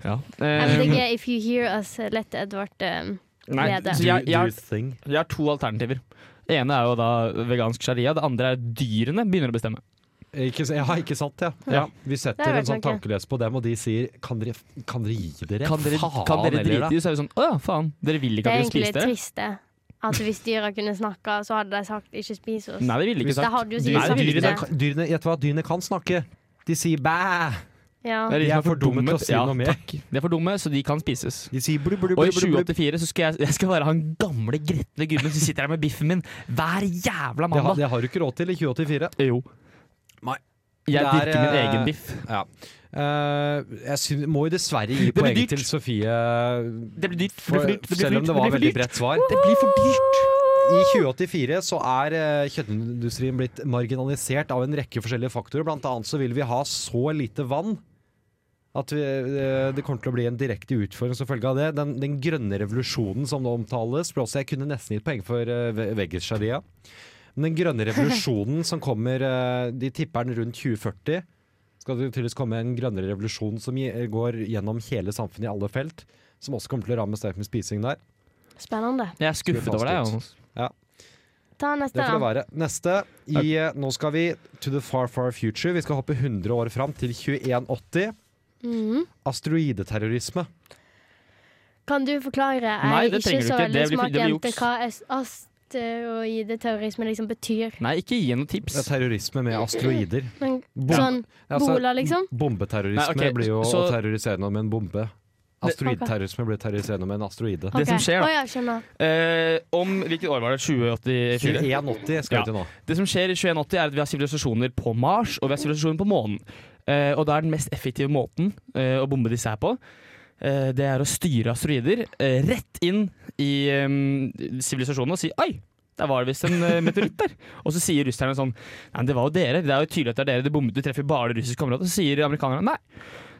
Speaker 2: Eh,
Speaker 3: MDG, if you hear us, let Edvard um,
Speaker 2: nei,
Speaker 3: lede.
Speaker 2: så jeg, jeg,
Speaker 4: thing.
Speaker 2: jeg har to alternativer. Det ene er jo da vegansk sharia. Det andre er dyrene begynner å bestemme.
Speaker 4: Ikke, s- ja, ikke sant, ja.
Speaker 2: Ja.
Speaker 4: ja. Vi
Speaker 3: Det
Speaker 4: setter
Speaker 3: har
Speaker 4: en sånn
Speaker 3: vært tanke.
Speaker 4: tankeløs på dem, og de sier Kan dere, kan dere gi dere
Speaker 2: Kan dere,
Speaker 4: faen
Speaker 2: kan dere
Speaker 4: eller,
Speaker 2: drite
Speaker 4: da?
Speaker 2: i det? Så er vi sånn Å ja, faen. Dere vil
Speaker 3: Det
Speaker 2: ikke at
Speaker 3: er
Speaker 2: vi
Speaker 3: egentlig
Speaker 2: spiser
Speaker 3: det
Speaker 2: det?
Speaker 3: triste. At hvis dyra kunne snakka, så hadde de sagt 'ikke spis oss'.
Speaker 2: Nei, det ville de ikke
Speaker 3: Det
Speaker 2: sagt.
Speaker 3: hadde jo
Speaker 2: Dyr-
Speaker 3: sikkert sagt
Speaker 2: dyrene
Speaker 4: Dyrene,
Speaker 3: det.
Speaker 4: kan- dyrene, vet du hva? Dyrene kan snakke. De sier bæ!
Speaker 3: Ja.
Speaker 2: Det
Speaker 4: De
Speaker 2: som
Speaker 4: er for dumme til å si
Speaker 2: ja,
Speaker 4: noe mer.
Speaker 2: Takk. De er for dumme, så de kan spises.
Speaker 4: De sier blub, blub,
Speaker 2: Og i
Speaker 4: blub, blub, blub.
Speaker 2: 2084 så skal jeg, jeg skal være han gamle gretne gubben som sitter her med biffen min hver jævla
Speaker 4: Det, har-
Speaker 2: mandag.
Speaker 4: det har du ikke råd til i 2084.
Speaker 2: jo.
Speaker 4: Nei.
Speaker 2: Jeg
Speaker 4: Det er,
Speaker 2: dyrker min
Speaker 4: eh,
Speaker 2: egen biff.
Speaker 4: Ja. Eh, jeg syn- må jo dessverre gi
Speaker 2: Det blir
Speaker 4: poeng
Speaker 2: dyrt.
Speaker 4: til Sofie,
Speaker 2: Det blir dyrt. Det
Speaker 4: for,
Speaker 2: blir for dyrt.
Speaker 4: selv om det var veldig bredt svar.
Speaker 2: Det blir for dyrt.
Speaker 4: I 2084 så er eh, kjøttindustrien blitt marginalisert av en rekke forskjellige faktorer. Blant annet så vil vi ha så lite vann at vi, eh, det kommer til å bli en direkte utfordring som følge av det. Den, den grønne revolusjonen som nå omtales, ble også jeg kunne nesten gitt poeng for eh, ve- veggies-sharia. Men den grønne revolusjonen som kommer, eh, de tipper den rundt 2040, skal det tydeligvis komme en grønnere revolusjon som gi- går gjennom hele samfunnet i alle felt, som også kommer til å ramme sterkt med spising der.
Speaker 3: Spennende.
Speaker 2: Jeg er skuffet over deg. Jonas.
Speaker 3: Ta neste,
Speaker 4: Det
Speaker 3: da.
Speaker 4: får det være. Neste. I, eh, nå skal vi to the far, far future. Vi skal hoppe 100 år fram til 2180.
Speaker 3: Mhm.
Speaker 4: Asteroideterrorisme.
Speaker 3: Kan du forklare? Jeg
Speaker 2: Nei,
Speaker 3: er
Speaker 2: det trenger
Speaker 3: ikke
Speaker 2: du
Speaker 3: så
Speaker 2: ikke. Det blir-
Speaker 3: veldig
Speaker 2: det blir
Speaker 3: smakjente
Speaker 2: juks.
Speaker 3: hva as- asteroideterrorisme eh, liksom betyr.
Speaker 2: Nei, ikke gi noen
Speaker 4: Det er
Speaker 2: tips.
Speaker 4: terrorisme med asteroider.
Speaker 3: Men
Speaker 4: Bom-
Speaker 3: sånn Bola, liksom?
Speaker 4: Bombeterrorisme
Speaker 2: Nei, ok,
Speaker 4: blir jo
Speaker 2: så-
Speaker 4: å terrorisere noen med en bombe. Asteroidterrorisme blir å terrorisere noen med en asteroide.
Speaker 2: Det som
Speaker 3: ok.
Speaker 2: skjer, da.
Speaker 3: Å, ja, skjønner.
Speaker 2: Eh, om hvilket år var det? 2084?
Speaker 4: 2180 skal
Speaker 2: Ja.
Speaker 4: vi til nå.
Speaker 2: Det som skjer i 2180 er at vi har sivilisasjoner på Mars og vi har sivilisasjoner på månen. Eh, og da er den mest effektive måten eh, å bombe disse her på, eh, det er å styre asteroider eh, rett inn i eh, sivilisasjonen og si Oi! Der var det visst en eh, meteoritt der. Og så sier russerne sånn Nei, det var jo dere. Det er jo tydelig at det er dere. Det bommet, du treffer bare det russiske området. Og så sier amerikanerne nei,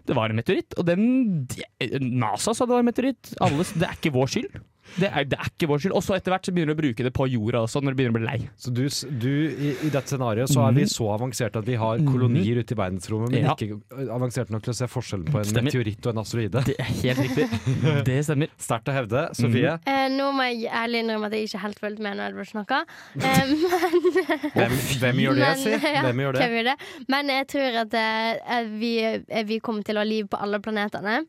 Speaker 2: det var en meteoritt. Og den de- eh, NASA sa det var en meteoritt. Alle, s- det er ikke vår skyld. Det er, det er ikke vår skyld. Og så etter hvert så begynner de å bruke det på jorda også, når de begynner å bli lei.
Speaker 4: Så du, s- du i, I dette scenarioet så er vi så avanserte at vi har kolonier ute i verdensrommet, men
Speaker 2: Mhm. Ja.
Speaker 4: ikke avanserte nok til å se forskjellen på en
Speaker 2: Stemmer.
Speaker 4: meteoritt og en asteroide.
Speaker 2: Det er helt riktig. Det stemmer.
Speaker 4: Sterkt å hevde. Sofie,
Speaker 2: Mhm.
Speaker 3: Eh, nå må jeg ærlig innrømme at jeg ikke helt fulgte med når Edvard snakka. Eh,
Speaker 4: hvem, hvem gjør det,
Speaker 3: Men-
Speaker 4: si?
Speaker 3: ja,
Speaker 4: Hvem gjør det?
Speaker 3: Hvem gjør det? Men jeg tror at eh, vi, eh, vi kommer til å ha liv på alle planetene.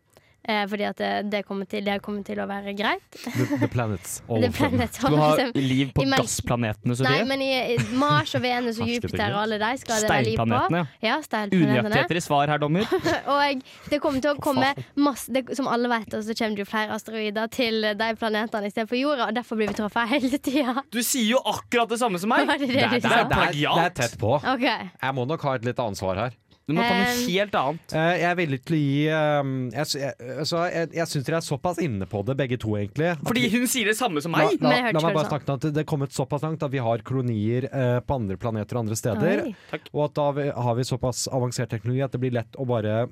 Speaker 3: Eh, fordi at eh, det kommer, til, det kommer til å være greit.
Speaker 4: The, the planets. All
Speaker 3: Det sånn-
Speaker 4: of them.
Speaker 3: planet-
Speaker 2: Skal du ha liv på
Speaker 3: liksom, I melk-
Speaker 2: gassplanetene,
Speaker 3: Nei,
Speaker 2: Sofie?
Speaker 3: men i i Mars og Venus og
Speaker 4: Hersket
Speaker 3: Jupiter
Speaker 4: ikke.
Speaker 3: og alle de skal det være liv på.
Speaker 2: Steinplanetene. ja.
Speaker 3: Ja, steinplanetene.
Speaker 2: Unøyaktigheter i svar her, dommer.
Speaker 3: Og det kommer til å komme masse det, Som alle vet, så kommer det jo flere asteroider til de planetene istedenfor jorda, og derfor blir vi truffet hele tida.
Speaker 2: Du sier jo akkurat det samme som
Speaker 3: Var det det du
Speaker 2: det
Speaker 3: sa?
Speaker 2: er plagiat.
Speaker 4: det er tett på.
Speaker 3: OK.
Speaker 4: Jeg må nok ha et litt annet svar her.
Speaker 2: Du må ta noe
Speaker 3: Eh,
Speaker 2: helt annet.
Speaker 4: Eh, jeg er villig til å gi eh, Jeg, sy- jeg, altså, jeg, jeg syns dere er såpass inne på det, begge to, egentlig. at
Speaker 2: Fordi
Speaker 4: vi-
Speaker 2: hun sier det samme som
Speaker 4: La,
Speaker 2: meg.
Speaker 4: la,
Speaker 3: Men jeg hørte
Speaker 4: la meg
Speaker 3: ikke
Speaker 4: bare
Speaker 3: hva du
Speaker 4: snakke om at det er kommet såpass langt at vi har kolonier eh, på andre planeter og andre steder.
Speaker 3: Oi.
Speaker 4: Og at da vi- har vi såpass avansert teknologi at det blir lett å bare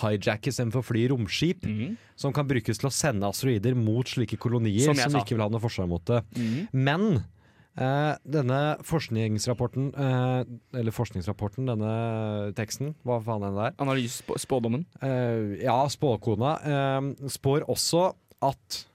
Speaker 4: hijacke istedenfor å fly romskip, som kan brukes til å sende asteroider mot slike kolonier
Speaker 2: Mhm. Som
Speaker 4: som,
Speaker 2: jeg sa. Mhm.
Speaker 4: ikke vil ha noe forsvar mot det. Men eh, denne forskningsrapporten, eh, eller forskningsrapporten, denne teksten, hva faen er det der?
Speaker 2: Analysespådommen.
Speaker 4: Eh, ja, spåkona eh, spår også at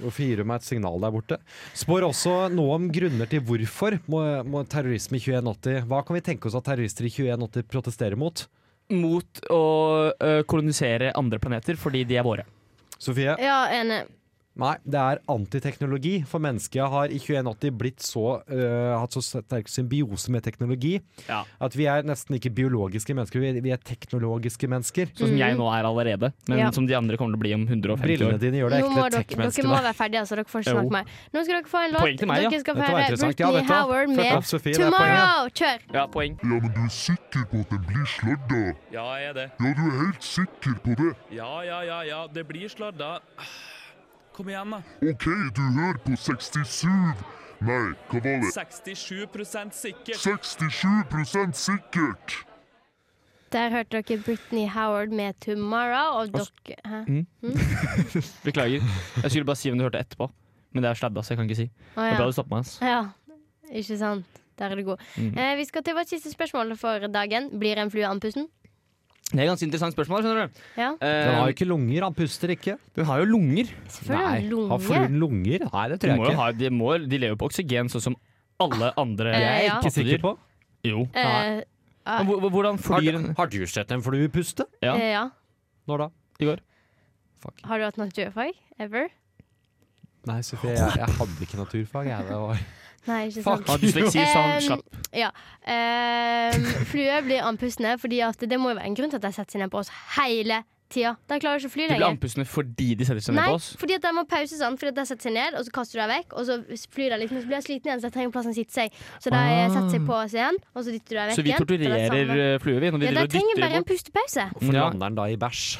Speaker 4: Hvorfor gir du meg et signal der borte? Spår også noe om grunner til hvorfor må, må terrorisme i 2180 Hva kan vi tenke oss at terrorister i 2180 protesterer mot?
Speaker 2: Mot å ø, kolonisere andre planeter fordi de er våre.
Speaker 3: Eh.
Speaker 4: Sofie?
Speaker 3: Ja, enig.
Speaker 4: Nei, det er antiteknologi. For mennesket har i 2180 blitt så, øh, hatt så sterk symbiose med teknologi
Speaker 2: Ja.
Speaker 4: at vi er nesten ikke biologiske mennesker, vi, vi er teknologiske mennesker.
Speaker 3: Mm.
Speaker 2: Sånn som jeg nå er allerede, men
Speaker 3: Mhm. Ja.
Speaker 2: som de andre kommer til å bli om 150
Speaker 4: Brillene
Speaker 2: år.
Speaker 4: dine gjør
Speaker 3: Nå
Speaker 4: deg
Speaker 3: må
Speaker 4: ekle
Speaker 3: dere, dere
Speaker 4: tech-mennesker.
Speaker 3: må
Speaker 4: da.
Speaker 3: være ferdige, så dere får ikke
Speaker 2: Jo.
Speaker 3: snakke mer. Nå skal dere få en låt.
Speaker 2: Poeng til meg, ja.
Speaker 3: dere skal
Speaker 4: Dette
Speaker 3: få
Speaker 4: var
Speaker 3: høre
Speaker 4: interessant. Ja,
Speaker 3: Britney
Speaker 4: vet du hva?
Speaker 3: Howard
Speaker 4: Fuck
Speaker 3: med
Speaker 4: off, Sofie, det er poeng, ja.
Speaker 3: Tomorrow. Kjør!
Speaker 2: Ja, poeng.
Speaker 10: Ja, men du er sikker på at den blir sladda?
Speaker 9: Ja, jeg er det.
Speaker 10: Ja, du er helt sikker på det?
Speaker 9: Ja, ja, ja, ja. Det blir sladda. Ah, Kom igjen, da.
Speaker 10: OK, du hører på 67 Nei, hva var det?
Speaker 9: 67 sikkert.
Speaker 10: 67 sikkert!
Speaker 3: Der hørte dere Britney Howard med 'Tomorrow', og dere Hæ?
Speaker 2: Beklager. Jeg skulle bare si om du hørte etterpå, men det er sladda, så jeg kan ikke si.
Speaker 3: Å,
Speaker 2: Det er
Speaker 3: ja.
Speaker 2: bra du stoppet meg, ass.
Speaker 3: ja. Ikke sant? Der er du god.
Speaker 2: Mm.
Speaker 3: Eh, vi skal til vårt siste spørsmål for dagen. Blir en flue andpusten?
Speaker 2: Det er et ganske interessant spørsmål, skjønner du.
Speaker 3: Ja,
Speaker 2: Eh,
Speaker 4: Den har jo ikke lunger, han puster ikke.
Speaker 2: den har jo lunger.
Speaker 3: selvfølgelig.
Speaker 4: Har
Speaker 3: Lunge.
Speaker 4: fluen lunger? Nei, det
Speaker 2: De, må
Speaker 4: tror jeg
Speaker 2: jo
Speaker 4: ikke.
Speaker 2: ha, de, må, de lever jo på oksygen, sånn som alle andre
Speaker 3: Jeg er
Speaker 2: ja.
Speaker 3: ikke
Speaker 2: pattedyr.
Speaker 4: Sikker på?
Speaker 2: Jo.
Speaker 3: Eh,
Speaker 2: Men hvor- Hvordan
Speaker 4: Har,
Speaker 2: flyr den?
Speaker 4: har du sett en flue puste?
Speaker 2: Ja.
Speaker 3: eh, ja.
Speaker 4: Når da?
Speaker 3: Har du hatt naturfag? Ever?
Speaker 4: Nei, Sofie, jeg, jeg hadde ikke naturfag. Jeg, det var.
Speaker 3: Nei, ikke sant.
Speaker 4: Fuck.
Speaker 2: Har dysleksi, så han
Speaker 3: Em,
Speaker 2: slapp.
Speaker 3: Ja. Em, fluer blir andpustne, fordi at det må jo være en grunn til at de setter seg ned på oss hele tida. De klarer ikke å fly
Speaker 2: De blir
Speaker 3: lenger.
Speaker 2: andpustne fordi de setter seg ned
Speaker 3: Nei,
Speaker 2: på oss.
Speaker 3: fordi at de må pause, sant? fordi at de setter seg ned, og så kaster du dem vekk. Og så flyr de litt, men så blir de slitne igjen, så de trenger plassen å sitte seg. Så de
Speaker 2: Ah.
Speaker 3: setter seg på oss igjen, og så dytter du dem
Speaker 2: Så
Speaker 3: vekk
Speaker 2: vi
Speaker 3: igjen. for det er
Speaker 2: torturerer
Speaker 3: samme.
Speaker 2: eh, fluer, vi, når vi
Speaker 3: Ja,
Speaker 2: driver
Speaker 3: de
Speaker 2: og
Speaker 3: trenger
Speaker 2: dytter
Speaker 3: bare
Speaker 2: dem
Speaker 3: en
Speaker 2: bort.
Speaker 3: pustepause.
Speaker 4: Hvorfor
Speaker 2: Ja.
Speaker 4: lander den da i bæsj?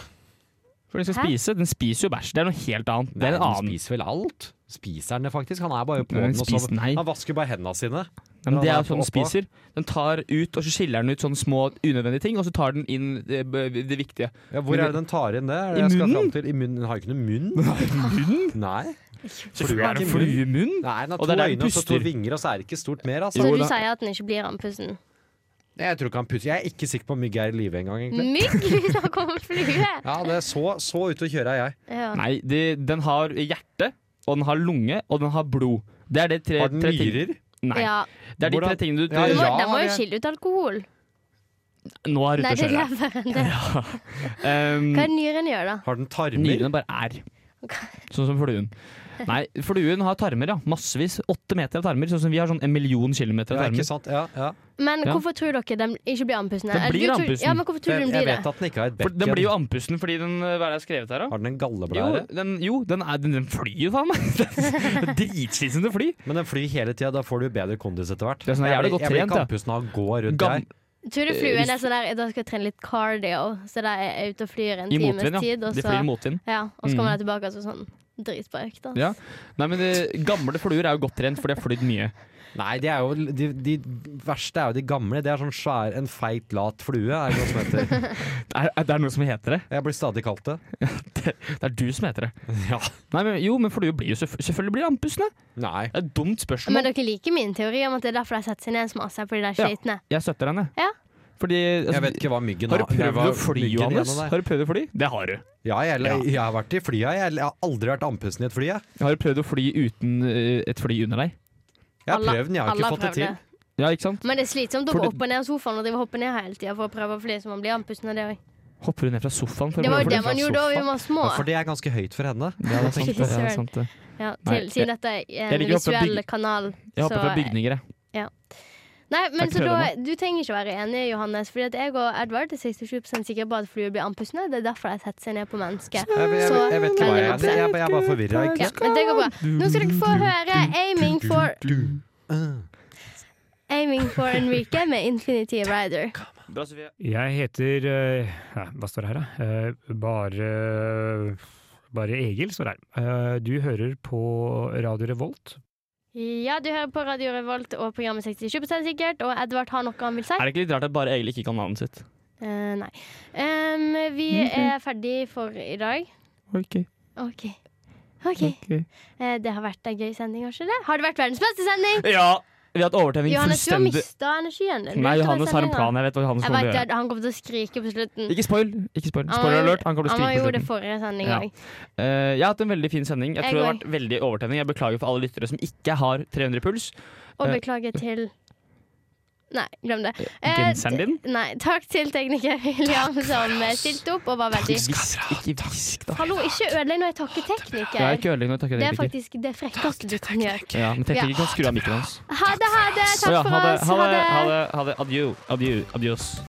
Speaker 2: For den skal
Speaker 3: Hæ?
Speaker 2: spise. Den spiser jo bæsj. Det er noe helt annet. Det
Speaker 4: Nei,
Speaker 2: er en
Speaker 4: den
Speaker 2: annen.
Speaker 4: spiser vel alt? Spiser den det faktisk? Han er bare på
Speaker 2: Nei,
Speaker 4: den,
Speaker 2: den
Speaker 4: og så
Speaker 2: spiser- nei.
Speaker 4: Han vasker bare hendene sine.
Speaker 2: Ja, men det er jo sånn den
Speaker 4: Den oppå.
Speaker 2: spiser. Den tar ut, og så skiller den ut sånne små unødvendige ting, og så tar den inn det, det viktige.
Speaker 4: Ja, hvor er det den tar inn det? Er det
Speaker 2: I
Speaker 4: jeg skal
Speaker 2: munnen?
Speaker 4: fram til? I munnen? Den har jo ikke noe munn. Munn? Nei. Flue
Speaker 2: Er det en
Speaker 4: munn.
Speaker 2: flue i munnen?
Speaker 4: Nei, den har
Speaker 2: Og
Speaker 4: to
Speaker 2: det er der den
Speaker 4: øyne og så to
Speaker 2: puster.
Speaker 4: vinger, og så er det ikke stort mer, altså.
Speaker 3: Så
Speaker 2: Jo,
Speaker 3: du
Speaker 2: da-
Speaker 3: sier at den ikke blir andpusten.
Speaker 4: Jeg tror ikke han puster. Jeg er ikke sikker på om mygg er i live engang, egentlig.
Speaker 3: Mygg! Vi snakker om flue.
Speaker 4: Ja, det er så, så ute å kjøre er jeg.
Speaker 3: Ja.
Speaker 2: Nei, det, den har hjerte, og den har lunge, og den har blod. Det er de tre,
Speaker 4: Har den
Speaker 2: eh, tre ting-
Speaker 4: nyrer?
Speaker 2: Nei.
Speaker 3: Ja.
Speaker 2: Det er de tre
Speaker 4: Hvordan-
Speaker 2: tingene du,
Speaker 4: Ja,
Speaker 3: De
Speaker 2: du
Speaker 3: må, de
Speaker 4: ja,
Speaker 3: må jo
Speaker 4: det-
Speaker 3: skille ut alkohol.
Speaker 2: Nå er ute
Speaker 3: Nei,
Speaker 2: og
Speaker 3: det er
Speaker 2: kjører.
Speaker 3: leveren. Det.
Speaker 2: Um,
Speaker 3: Hva er det nyren gjør, da?
Speaker 4: Har den tarmer?
Speaker 2: Nyrene bare er.
Speaker 3: Ok.
Speaker 2: Sånn som fluen. Nei, fluen har tarmer, ja. Massevis. Åtte meter av tarmer. Sånn som vi har sånn en million kilometer
Speaker 4: Ja,
Speaker 2: av
Speaker 4: ikke
Speaker 2: tarmer.
Speaker 4: sant? Ja, ja.
Speaker 3: Men
Speaker 2: Ja.
Speaker 3: hvorfor tror dere de ikke blir andpustne?
Speaker 2: De
Speaker 3: Eller
Speaker 2: blir
Speaker 3: du tror-
Speaker 2: andpusten.
Speaker 3: Ja, men hvorfor tror du
Speaker 4: Men
Speaker 3: de
Speaker 4: jeg
Speaker 3: blir
Speaker 4: vet
Speaker 3: det?
Speaker 4: at den ikke har et
Speaker 2: For den blir jo
Speaker 4: bekken.
Speaker 2: andpusten fordi den eh, Hva er det jeg har skrevet her, da?
Speaker 4: Har den
Speaker 2: Jo,
Speaker 4: en galleblære?
Speaker 2: den, jo, den, er, den, den flyr jo, faen meg! Det er Dritslitsomt å fly.
Speaker 4: Men den flyr hele tida, da får du bedre kondis etter hvert.
Speaker 2: Det er sånn
Speaker 4: jeg
Speaker 2: jævlig
Speaker 4: blir-
Speaker 2: godt
Speaker 4: jeg blir
Speaker 2: trent, ja.
Speaker 4: kamphusen av å gå rundt
Speaker 2: Gam-
Speaker 4: her.
Speaker 3: Tror du fluen
Speaker 2: hvis-
Speaker 3: er sånn der Da skal jeg trene litt cardio, så de er ute og flyr en
Speaker 2: I
Speaker 3: times
Speaker 2: motvind, ja.
Speaker 3: tid, og
Speaker 2: De flyr i
Speaker 3: så,
Speaker 2: motvind. Mm.
Speaker 3: ja, og så kommer de tilbake og så sånn dritbra økt, da.
Speaker 2: Ja. Nei, men eh, Gamle fluer er jo godt trent, for de har flydd mye.
Speaker 4: Nei, de, er jo, de, de verste er jo de gamle. Det er sånn svær, en feit, lat flue. Er det noe som heter.
Speaker 2: Det er, det er noe som heter det.
Speaker 4: Jeg blir stadig kalt det.
Speaker 2: Det er du som heter det.
Speaker 4: Ja.
Speaker 2: Nei, men, jo, men fluer blir jo selvfø- selvfølgelig blir de andpustne.
Speaker 4: Nei.
Speaker 2: Det er et dumt spørsmål.
Speaker 3: Men dere liker min teori om at det er derfor de setter seg ned en masse, fordi de er
Speaker 2: Ja.
Speaker 3: slitne.
Speaker 2: Jeg støtter henne.
Speaker 3: Ja.
Speaker 2: Fordi altså,
Speaker 4: Jeg vet ikke hva myggen
Speaker 2: Har du
Speaker 4: Nei,
Speaker 2: prøvd
Speaker 4: hva
Speaker 2: å fly,
Speaker 4: myggen
Speaker 2: Johannes?
Speaker 4: gjennom der.
Speaker 2: Har du prøvd å fly? Det har du.
Speaker 4: Ja, jeg,
Speaker 2: Ja.
Speaker 4: jeg har vært i flyet. Jeg, jeg har aldri vært andpusten i et fly. Jeg,
Speaker 2: Har du prøvd å fly uten eh, et fly under deg?
Speaker 4: jeg har
Speaker 3: Alle-
Speaker 4: prøvd den, jeg har
Speaker 3: alle
Speaker 4: ikke fått det til.
Speaker 3: prøvd
Speaker 2: Ja, ikke sant?
Speaker 3: Men det er slitsomt å
Speaker 2: For
Speaker 3: gå
Speaker 2: det-
Speaker 3: opp og ned av sofaen og drive og hoppe ned hele tida for å prøve å fly, så man blir andpusten av det òg.
Speaker 2: Hopper du ned fra sofaen? For
Speaker 3: Det
Speaker 2: å
Speaker 3: var
Speaker 2: prøve
Speaker 3: jo det
Speaker 2: å fly
Speaker 3: man
Speaker 2: fra
Speaker 3: gjorde da vi
Speaker 2: sofaen?
Speaker 3: var små.
Speaker 4: For det er ganske høyt for henne. Sånn
Speaker 2: Ja, det er sant, det. Ja, det er sant, det.
Speaker 3: Ja,
Speaker 2: Nei,
Speaker 3: til, siden dette er en
Speaker 2: liker å hoppe
Speaker 3: visuell
Speaker 2: byg-
Speaker 3: kanal.
Speaker 2: Jeg hopper
Speaker 3: så-
Speaker 2: fra
Speaker 3: eh,
Speaker 2: bygninger, jeg.
Speaker 3: Nei, men
Speaker 2: Takk
Speaker 3: så
Speaker 2: til
Speaker 3: da, Du trenger ikke være enig, Johannes. Fordi at jeg og Edvard er 67 sikre på at fluer blir andpustne. Det er derfor de setter seg ned på mennesket.
Speaker 4: Jeg, jeg, jeg, jeg vet ikke hva jeg er. Jeg, jeg, jeg er bare forvirra.
Speaker 3: Ja, men det går bra. Nå skal dere få høre 'Aiming for Aiming for Enrique med Infinity Rider.
Speaker 2: Bra, Sofie.
Speaker 9: Jeg heter eh, ja, Hva står det her, da? Eh, Bare Bare Egil står det her. Eh, Du hører på Radio Revolt.
Speaker 3: Ja, du hører på Radio Revolt og programmet 67 sikkert, og Edvard har noe han vil si.
Speaker 2: Er det ikke litt rart at bare Egil ikke kan navnet sitt?
Speaker 3: Eh, nei. Em, vi
Speaker 2: Mhm.
Speaker 3: er ferdig for i dag.
Speaker 2: Ok,
Speaker 3: OK. OK. Eh, det har vært en gøy sending, har ikke det? Har det vært verdens beste sending?
Speaker 2: Ja, vi har hatt overtenning
Speaker 3: Johannes, du har
Speaker 2: fullstendig.
Speaker 3: mista energien din.
Speaker 2: Nei,
Speaker 3: Du
Speaker 2: Johannes har en
Speaker 3: sendingen.
Speaker 2: plan. Jeg vet hva Johannes
Speaker 3: Jeg
Speaker 2: kommer til å
Speaker 3: vet,
Speaker 2: gjøre.
Speaker 3: det, Han kommer til å skrike på slutten.
Speaker 2: Ikke spoil. ikke spoil.
Speaker 3: Han
Speaker 2: Spoiler
Speaker 3: var-
Speaker 2: alert, han kommer til å
Speaker 3: Han var
Speaker 2: skrike
Speaker 3: jo
Speaker 2: på
Speaker 3: det
Speaker 2: slutten.
Speaker 3: forrige sending
Speaker 2: Ja.
Speaker 3: òg.
Speaker 2: Eh, jeg har hatt en veldig fin sending. Jeg
Speaker 3: Jeg
Speaker 2: tror det har
Speaker 3: går.
Speaker 2: vært veldig overtenning. Jeg beklager for alle lyttere som ikke har 300 puls.
Speaker 3: Og
Speaker 2: Eh,
Speaker 3: beklager til Nei, glem det.
Speaker 2: Genseren din?
Speaker 3: t- Nei, takk til tekniker William som eh, stilte opp og var veldig
Speaker 2: Ikke hvisk, da.
Speaker 3: Hallo, ikke ødelegg når jeg takker tekniker.
Speaker 2: Jeg er ikke ødelig når jeg takker
Speaker 3: Det er
Speaker 2: deg, Rikker.
Speaker 3: faktisk det frekkeste du kan gjøre.
Speaker 2: Ja, men tekniker kan skru av mikrofonen hans.
Speaker 3: Ha det, ha det.
Speaker 2: Å
Speaker 3: Takk
Speaker 2: ja,
Speaker 3: for oss.
Speaker 2: Ha det. Ha det. Ha det. Adjø. Adjø. Adios.